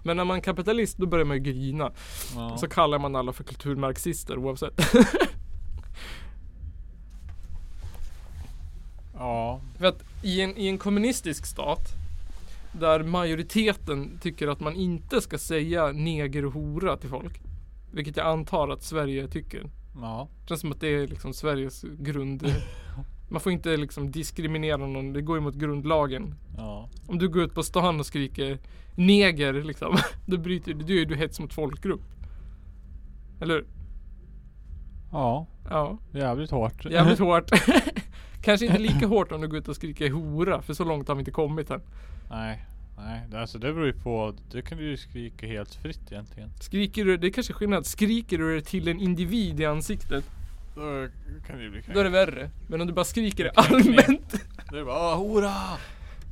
A: Men när man är kapitalist då börjar man ju grina.
B: ja.
A: Så kallar man alla för kulturmarxister oavsett.
B: ja.
A: För att i en, i en kommunistisk stat där majoriteten tycker att man inte ska säga neger och hora till folk. Vilket jag antar att Sverige tycker.
B: Ja.
A: Det känns som att det är liksom Sveriges grund. Man får inte liksom diskriminera någon. Det går emot grundlagen.
B: Ja.
A: Om du går ut på stan och skriker neger liksom. Då bryter du. Då är du hets mot folkgrupp. Eller hur?
B: Ja.
A: Ja.
B: Jävligt hårt.
A: Jävligt hårt. Kanske inte lika hårt om du går ut och skriker hora. För så långt har vi inte kommit än.
B: Nej. Nej. Det- Alltså det beror ju på. Det kan du ju skrika helt fritt egentligen.
A: Skriker du, det är kanske skillnad. Skriker du det till en individ i ansiktet,
B: Då kan det ju bli knäckt.
A: då är det värre. Men om du bara skriker det
B: Knäck, knäck.
A: allmänt.
B: Det är bara ah, hurra!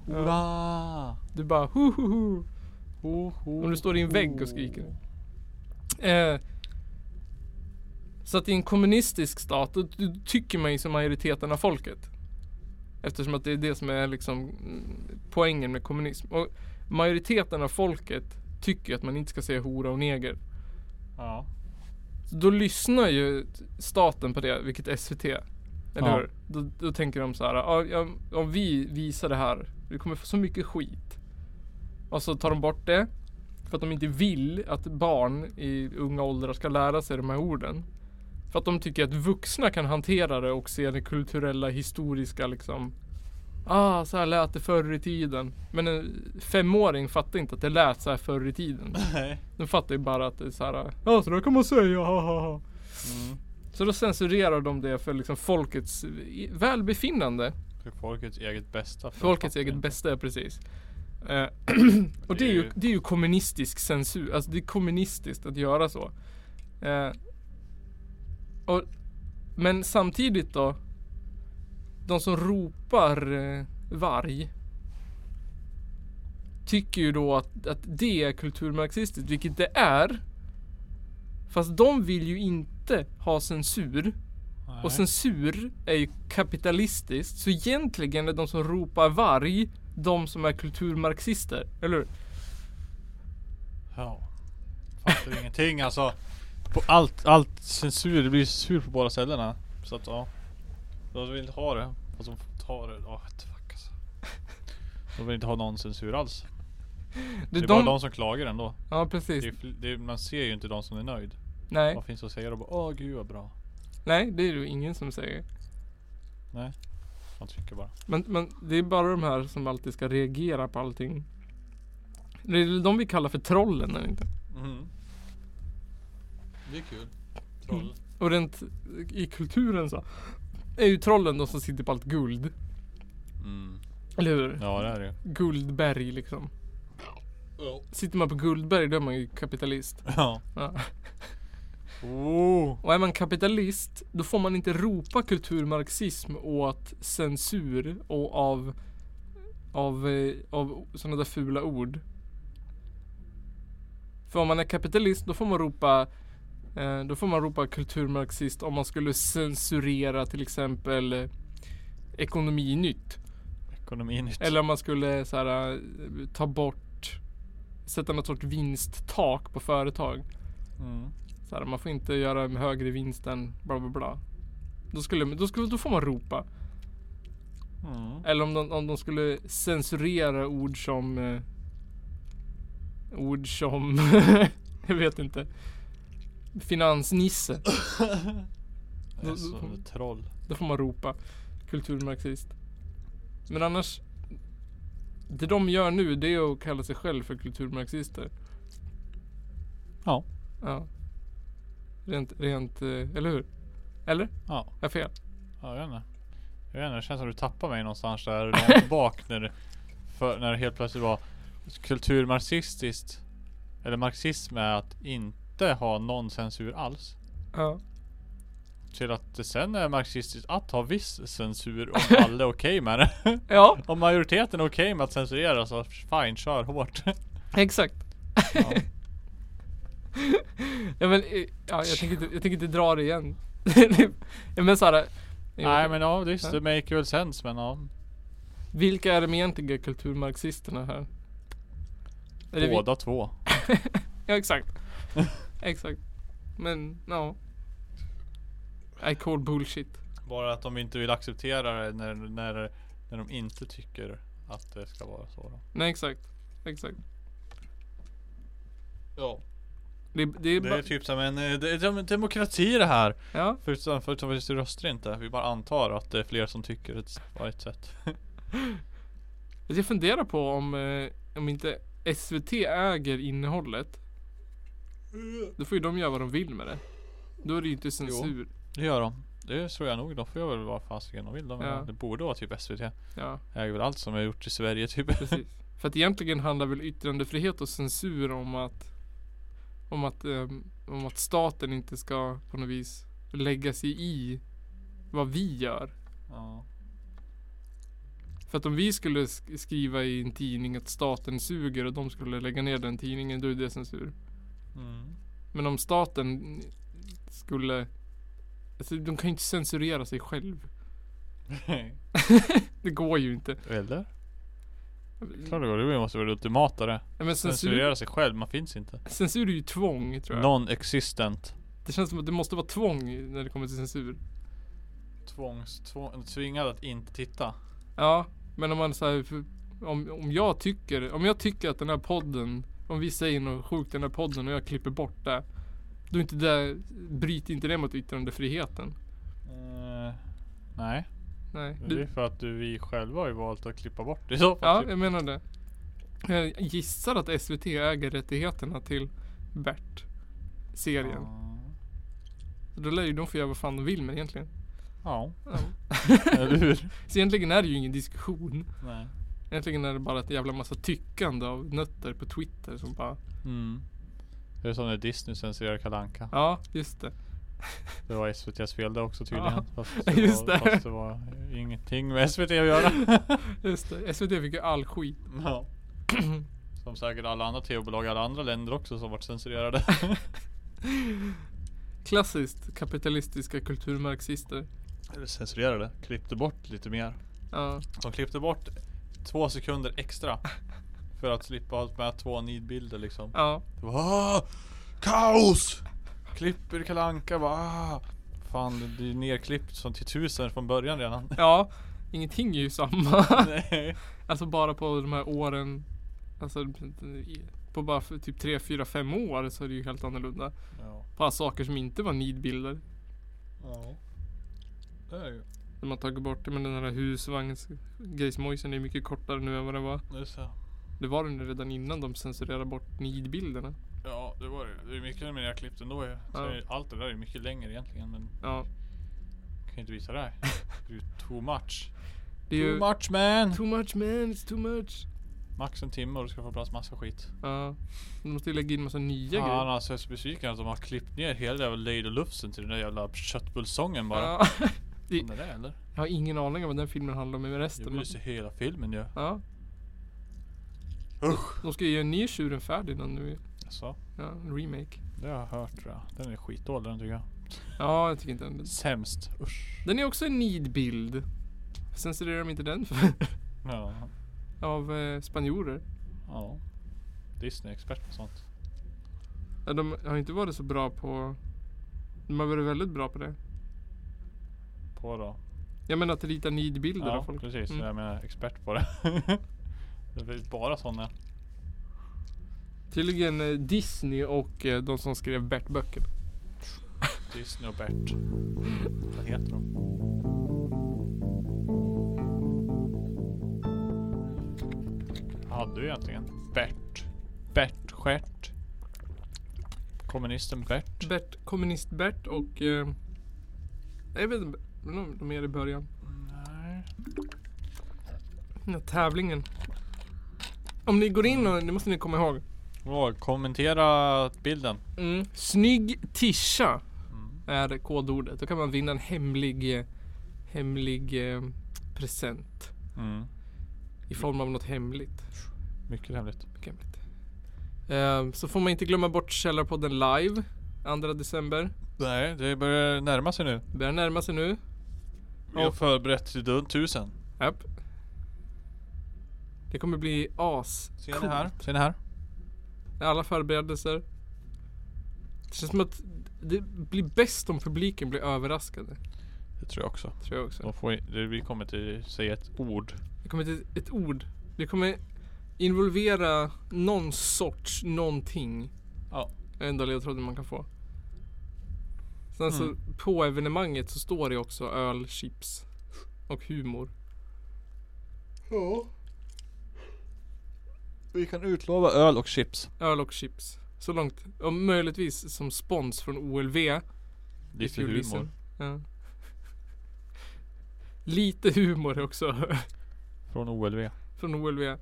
B: Hurra!
A: Du bara ho ho ho.
B: Ho, ho,
A: Om du står i en vägg och skriker. Eh, så att i en kommunistisk stat, då, då tycker man ju som majoriteten av folket. Eftersom att det är det som är liksom mm, poängen med kommunism. Och majoriteten av folket tycker att man inte ska säga hora och neger.
B: Ja.
A: Så Då lyssnar ju staten på det, vilket SVT. Eller
B: Ja.
A: hur? Då, då tänker de så här, "Ja, ja, om vi visar det här, vi kommer få så mycket skit. Och så tar de bort det. För att de inte vill att barn i unga åldrar ska lära sig de här orden. För att de tycker att vuxna kan hantera det och se det kulturella, historiska liksom. Ah, så här lät det förr i tiden. Men en femåring fattar inte att det lät så här förr i tiden.
B: Nej.
A: De fattar ju bara att det är så här. Ja, så där kan man säga. Ha, ha, ha.
B: Mm.
A: Så då censurerar de det för liksom folkets i- välbefinnande.
B: För folkets eget bästa. för
A: Folkets
B: fattningen.
A: eget bästa, ja, precis. Eh, och det är, ju, det är ju kommunistisk censur. Alltså det är kommunistiskt att göra så. Eh, och, men samtidigt då. De som ropar eh, varg. Tycker ju då att, att det är kulturmarxistiskt, vilket det är. Fast de vill ju inte ha censur.
B: Nej.
A: Och censur är ju kapitalistiskt. Så egentligen är de som ropar varg de som är kulturmarxister. Eller hur?
B: Ja. Fattar ingenting alltså. På allt, allt censur. Det blir censur på båda ställena. Så att ja. De vill inte ha det. Och som tar det. Oh, what the fuck alltså. De vill inte ha någon censur alls. Det är, bara de Typ. som klagar ändå.
A: Ja
B: Det
A: precis.
B: är, fl- det är, man ser ju inte de som är nöjd.
A: Nej.
B: Vad finns det att säga då? Bara, Åh gud vad bra.
A: Nej, det är ju ingen som säger.
B: Man tycker bara.
A: Men, men det är bara de här som alltid ska reagera på allting. Det är de vi kallar för trollen eller inte?
B: Mm. Det är kul. Troll.
A: Och rent i kulturen så. Är ju trollen de som sitter på allt guld.
B: Mm.
A: Eller hur?
B: Ja det är det ju.
A: Guldberg liksom. Sitter man på guldberg då är man ju kapitalist.
B: Ja.
A: Ja.
B: Oh.
A: Och är man kapitalist, då får man inte ropa kulturmarxism åt censur och av av, eh, av sådana där fula ord. För om man är kapitalist, då får man ropa eh, då får man ropa kulturmarxist om man skulle censurera till exempel eh, ekonominytt.
B: Ekonominytt.
A: Eller om man skulle så här, eh, ta bort sätta något sorts vinsttak på företag.
B: Mm.
A: Så här, man får inte göra en högre vinst än bla bla bla. Då, skulle, då, skulle, då får man ropa.
B: Mm.
A: Eller om de, om de skulle censurera ord som... Eh, ord som... jag vet inte. Finansnisse.
B: Jag är så ett troll.
A: Då får man ropa. Kulturmarxist. Men annars. Det de gör nu det är att kalla sig själv för kulturmarxister.
B: Ja.
A: Ja. Rent, rent, eh, eller hur? Eller?
B: Ja.
A: Är jag fel?
B: Ja, jag vet inte. Jag vet inte, det känns som du tappar mig någonstans där långt bak när, du- för, när det helt plötsligt var kulturmarxistiskt. Eller marxism är att inte ha någon censur alls.
A: Ja.
B: Till att det sen är marxistiskt att ha viss censur om alla är okej med det.
A: Ja,
B: Om majoriteten är okej med att censurera så fine, kör hårt.
A: exakt.
B: Ja.
A: Ja men, eh, ja, jag tänker inte, jag tänker inte dra det igen. ja, men eh, såhär.
B: Nej men ja, visst
A: Ja.
B: det make väl sense men ja.
A: Vilka är de egentliga kulturmarxisterna här? Är det vi-
B: Båda två.
A: Ja exakt. exakt. Men ja. I call bullshit.
B: Bara att de inte vill acceptera det när, när, när de inte tycker att det ska vara så då.
A: Nej exakt. Exakt.
B: Ja.
A: Det, det är
B: Det är
A: bara,
B: typ som en eh, det är som en demokrati det här.
A: ja.
B: Förutom, förutom att vi röstar inte. Vi bara antar att det är fler som tycker det på ett sätt.
A: Jag funderar på om, eh, om inte SVT äger innehållet.
B: Mm.
A: Då får ju de göra vad de vill med det. Då är det ju inte censur.
B: Det gör de. Det tror jag nog. De får jag väl vara fasiken de vill. De.
A: Ja.
B: Det borde vara typ SVT.
A: Ja,
B: Äger väl allt som är gjort i Sverige typ.
A: precis. För att egentligen handlar väl yttrandefrihet och censur om att om att, ehm, om att staten inte ska på något vis lägga sig i vad vi gör.
B: Ja.
A: För att om vi skulle sk- skriva i en tidning att staten suger och de skulle lägga ner den tidningen, då är det censur.
B: Mm.
A: Men om staten skulle... Alltså, de kan ju inte censurera sig själv. Det går ju inte.
B: Eller? Klart det går. Det måste vara det ultimata det.
A: Nej, Men censur,
B: Censurera sig själv. Man finns inte.
A: censur är ju tvång, tror jag.
B: Non-existent.
A: Det känns som att det måste vara tvång när det kommer till censur.
B: Tvångs, tvång, tvingad att inte titta.
A: Ja, men om man säger... Om, om jag tycker om jag tycker att den här podden, om vi säger något sjukt i den här podden och jag klipper bort det. Då är inte det, bryter inte det mot yttrandefriheten.
B: Eh, nej.
A: Nej.
B: Men
A: Du,
B: Det är för att du, vi själva har ju valt att klippa bort det i så fall.
A: Ja,
B: typ.
A: jag menar det. Jag gissar att SVT äger rättigheterna till Bert-serien.
B: Ja.
A: Då lär ju de få göra vad fan de vill med egentligen.
B: Ja,
A: Ja.
B: eller hur?
A: Så egentligen är det ju ingen diskussion.
B: Nej.
A: Egentligen är det bara ett jävla massa tyckande av nötter på Twitter som bara
B: Mm. Det är som när Disney censurerade Kalle Anka.
A: Ja, just det.
B: Det var SVTs fel det också tydligen.
A: Ja,
B: Fast, det
A: just
B: var,
A: det.
B: fast det var ingenting med SVT att göra.
A: Just det. SVT fick ju all skit.
B: ja. Som säkert alla andra tv-bolag i alla andra länder också som varit censurerade.
A: Klassiskt kapitalistiska kulturmarxister.
B: Eller censurerade. Klippte bort lite mer.
A: Ja,
B: De klippte bort två sekunder extra. För att slippa ha med två nidbilder liksom.
A: ja.
B: Det var, "Ah, Kaos! Klipper Kalle Anka bara "Ah." Fan det- det är ju nerklippt som till tusen från början redan.
A: ja. Ingenting är ju samma.
B: Nej.
A: Alltså bara på de här åren. Alltså på bara för typ 3, 4, 5 år så är det ju helt annorlunda.
B: Ja.
A: Bara saker som inte var nidbilder.
B: Ja. Det är ju.
A: De har tagit bort det men den här husvagnsgrejsmojsen är mycket kortare nu än vad den var.
B: Just det.
A: Det var den ju redan innan de censurerade bort nidbilderna.
B: Ja det var det. Det är mycket mer jag klippt ändå ju. Så
A: Ja.
B: är- Allt det där är mycket längre egentligen men
A: Ja.
B: jag kan ju inte visa det här. Det är ju too much.
A: Det är ju
B: Too much man!
A: too much man, it's too much.
B: Max en timme och du ska få plats massa skit.
A: Ja. De måste ju lägga in massa nya
B: Fan
A: grejer.
B: alltså jag är så besviken att de har klippt ner hela jävla Lady Lufsen till den där jävla köttbullsången bara.
A: Ja.
B: Om det där eller?
A: Jag har ingen aning om vad den filmen handlar om i
B: Jag
A: resten.
B: vill ju se hela filmen ju.
A: Ja.
B: Usch!
A: De ska ju göra en ny Tjuren Ferdinand nu.
B: Alltså,
A: Ja, en remake.
B: det har jag hört tror jag. Den är skitdålig den tycker jag.
A: Ja, jag tycker inte den.
B: Sämst. Usch.
A: Den är också en nidbild. Censurerar de inte den för?
B: Ja.
A: Av eh, spanjorer.
B: ja. Disney är expert på sånt.
A: Ja, De har inte varit så bra på... De har varit väldigt bra på det.
B: På då?
A: Jag menar att rita nidbilder av
B: Ja,
A: folk.
B: precis.
A: Mm.
B: Jag menar expert på det. det finns bara sådana.
A: Tydligen eh, Disney och eh, de som skrev Bert-böcker.
B: Disney och Bert. Vad heter de? Hade du egentligen? Bert. Bert Stjärt. Kommunisten Bert.
A: Bert, kommunist-Bert och... Eh, jag vet inte, men de, de är i början.
B: Nej.
A: Den här tävlingen. Om ni går in och, det måste ni komma ihåg.
B: Åh, kommentera bilden.
A: Mm. Snygg tisha
B: Mm.
A: är kodordet. Då kan man vinna en hemlig, eh, hemlig eh, present.
B: Mm.
A: I form av något hemligt.
B: Mycket hemligt.
A: Mycket hemligt. Eh, så får man inte glömma bort Källarpodden live. 2 december.
B: Nej, det börjar närma sig nu.
A: Börjar närma sig nu.
B: Vi har
A: Och-
B: förberett till tusen.
A: Japp. Det kommer bli as
B: Ser ni här? Ser ni här?
A: Alla förberedelser. Det känns som att det blir bäst om publiken blir överraskade.
B: Det tror jag också.
A: Tror jag också.
B: De får, i- det, vi kommer till säga ett ord.
A: Det kommer inte ett ord. Det kommer involvera någon sorts någonting.
B: Ja.
A: Är enda ledtråden man kan få. Sen så
B: Mm.
A: på evenemanget så står det också öl, chips och humor.
B: Ja. Vi kan utlova öl och chips.
A: Öl och chips. Så långt. Och möjligtvis som spons från OLV. i
B: Lite
A: fjolisen.
B: humor.
A: Ja. Lite humor är också
B: Från OLV.
A: från OLV.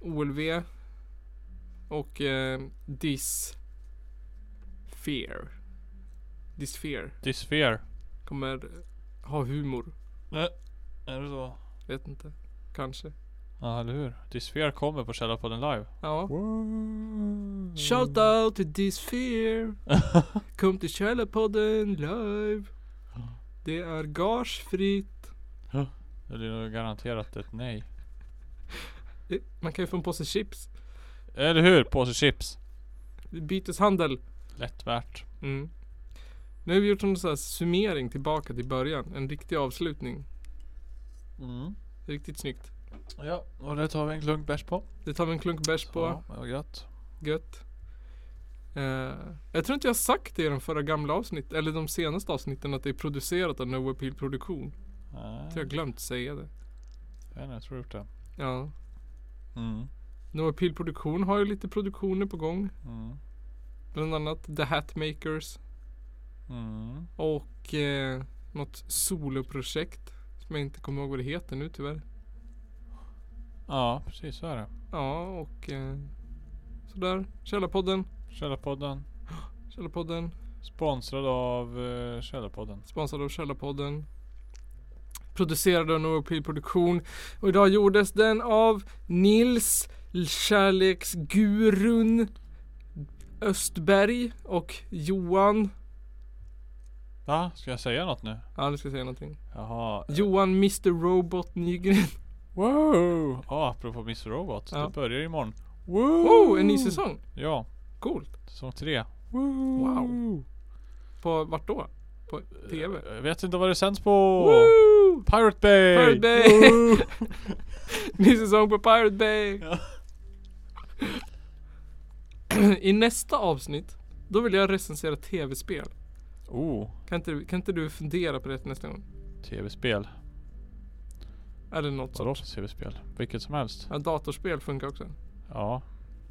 A: OLV. Och eh, Dis... Fear. Dis Fear
B: Disfear.
A: kommer ha humor.
B: Nej. Är det så?
A: Vet inte. Kanske.
B: Ja, eller hur? Disfear kommer på Källarpodden live.
A: Ja. Shout out to Dis Fear. Kom till Källarpodden live. Det är gagefritt.
B: Det blir nog garanterat ett nej.
A: Eh, Man kan ju få en påse chips.
B: Eller hur? Påse chips.
A: Byteshandel.
B: Lätt värt.
A: Mm. Nu har vi gjort en sån här summering tillbaka till början. En riktig avslutning.
B: Mm.
A: Riktigt snyggt.
B: Ja, och det tar vi en klunk bärs på.
A: Det tar vi en klunk bärs på.
B: Ja, det var gött.
A: Gött. Eh, jag tror inte jag har sagt det i de förra gamla avsnitten, eller de senaste avsnitten, att det är producerat av No Appeal Produktion.
B: Nej,
A: Jag tror jag glömt säga det.
B: jag vet inte, jag tror jag gjort det.
A: Ja.
B: Mm.
A: No Appeal Produktion har ju lite produktioner på gång.
B: Mm.
A: Bland annat The Hatmakers
B: Mm.
A: och eh, något soloprojekt som jag inte kommer ihåg vad det heter nu tyvärr.
B: Ja, precis så är det.
A: Ja, och eh, sådär. Källarpodden.
B: Källarpodden.
A: Källarpodden.
B: Sponsrad av uh, Källarpodden.
A: Sponsrad av Källarpodden. Producerad av No Appeal Produktion. Och idag gjordes den av Nils Kärleksgurun Östberg och Johan.
B: Va? Ska jag säga något nu?
A: Ja, nu ska jag säga någonting.
B: Jaha.
A: Johan Mr Robot Nygren.
B: Wow! Ja, apropå Mr Robot.
A: Ja.
B: Det börjar imorgon. Wow!
A: Oh, en ny säsong.
B: Ja,
A: Coolt.
B: säsong tre. Eh,
A: Wow. På vart då? På TV?
B: Jag vet inte vad det sänds på.
A: Woo!
B: Pirate Bay!
A: Pirate Bay!
B: Wow!
A: Ny säsong på Pirate Bay!
B: Ja.
A: I nästa avsnitt, då vill jag recensera tv-spel.
B: oh,
A: Kan inte, kan inte du fundera på det till nästa gång?
B: tv-spel.
A: Eller något sånt.
B: Vadå för tv-spel? Vilket som helst.
A: Ja, datorspel funkar också.
B: Ja,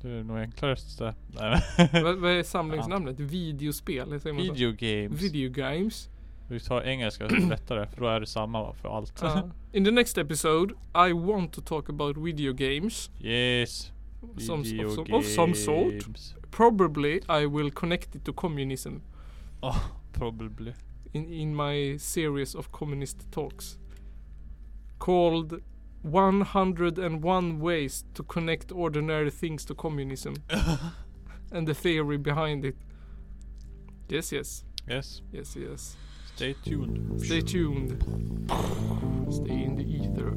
B: det är nog enklare. så- Nej,
A: Vad vad är samlingsnamnet? Videospel? eller Säger
B: men-
A: man så?
B: Video games.
A: Video games.
B: Vi tar engelska så är det lättare för då är det samma för allt.
A: Ja. In the next episode, I want to talk about video games.
B: yes.
A: Som,
B: Video
A: of, some, of some sort.
B: games.
A: Probably I will connect it to communism.
B: Oh, probably.
A: in, in my series of communist talks called 101 ways to connect ordinary things to communism and the theory behind it. Yes, yes,
B: Yes.
A: yes, yes.
B: Stay tuned.
A: Stay tuned. Stay in the ether.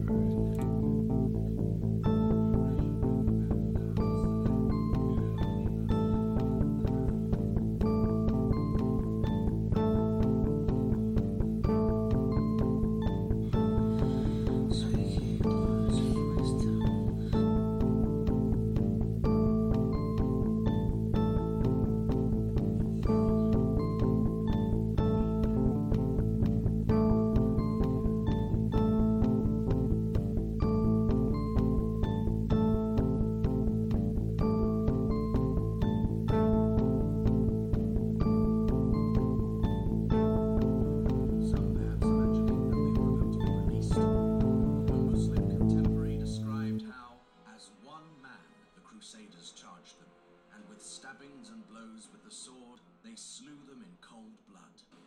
C: one man, the Crusaders charged them, and with stabbings and blows with the sword, they slew them in cold blood.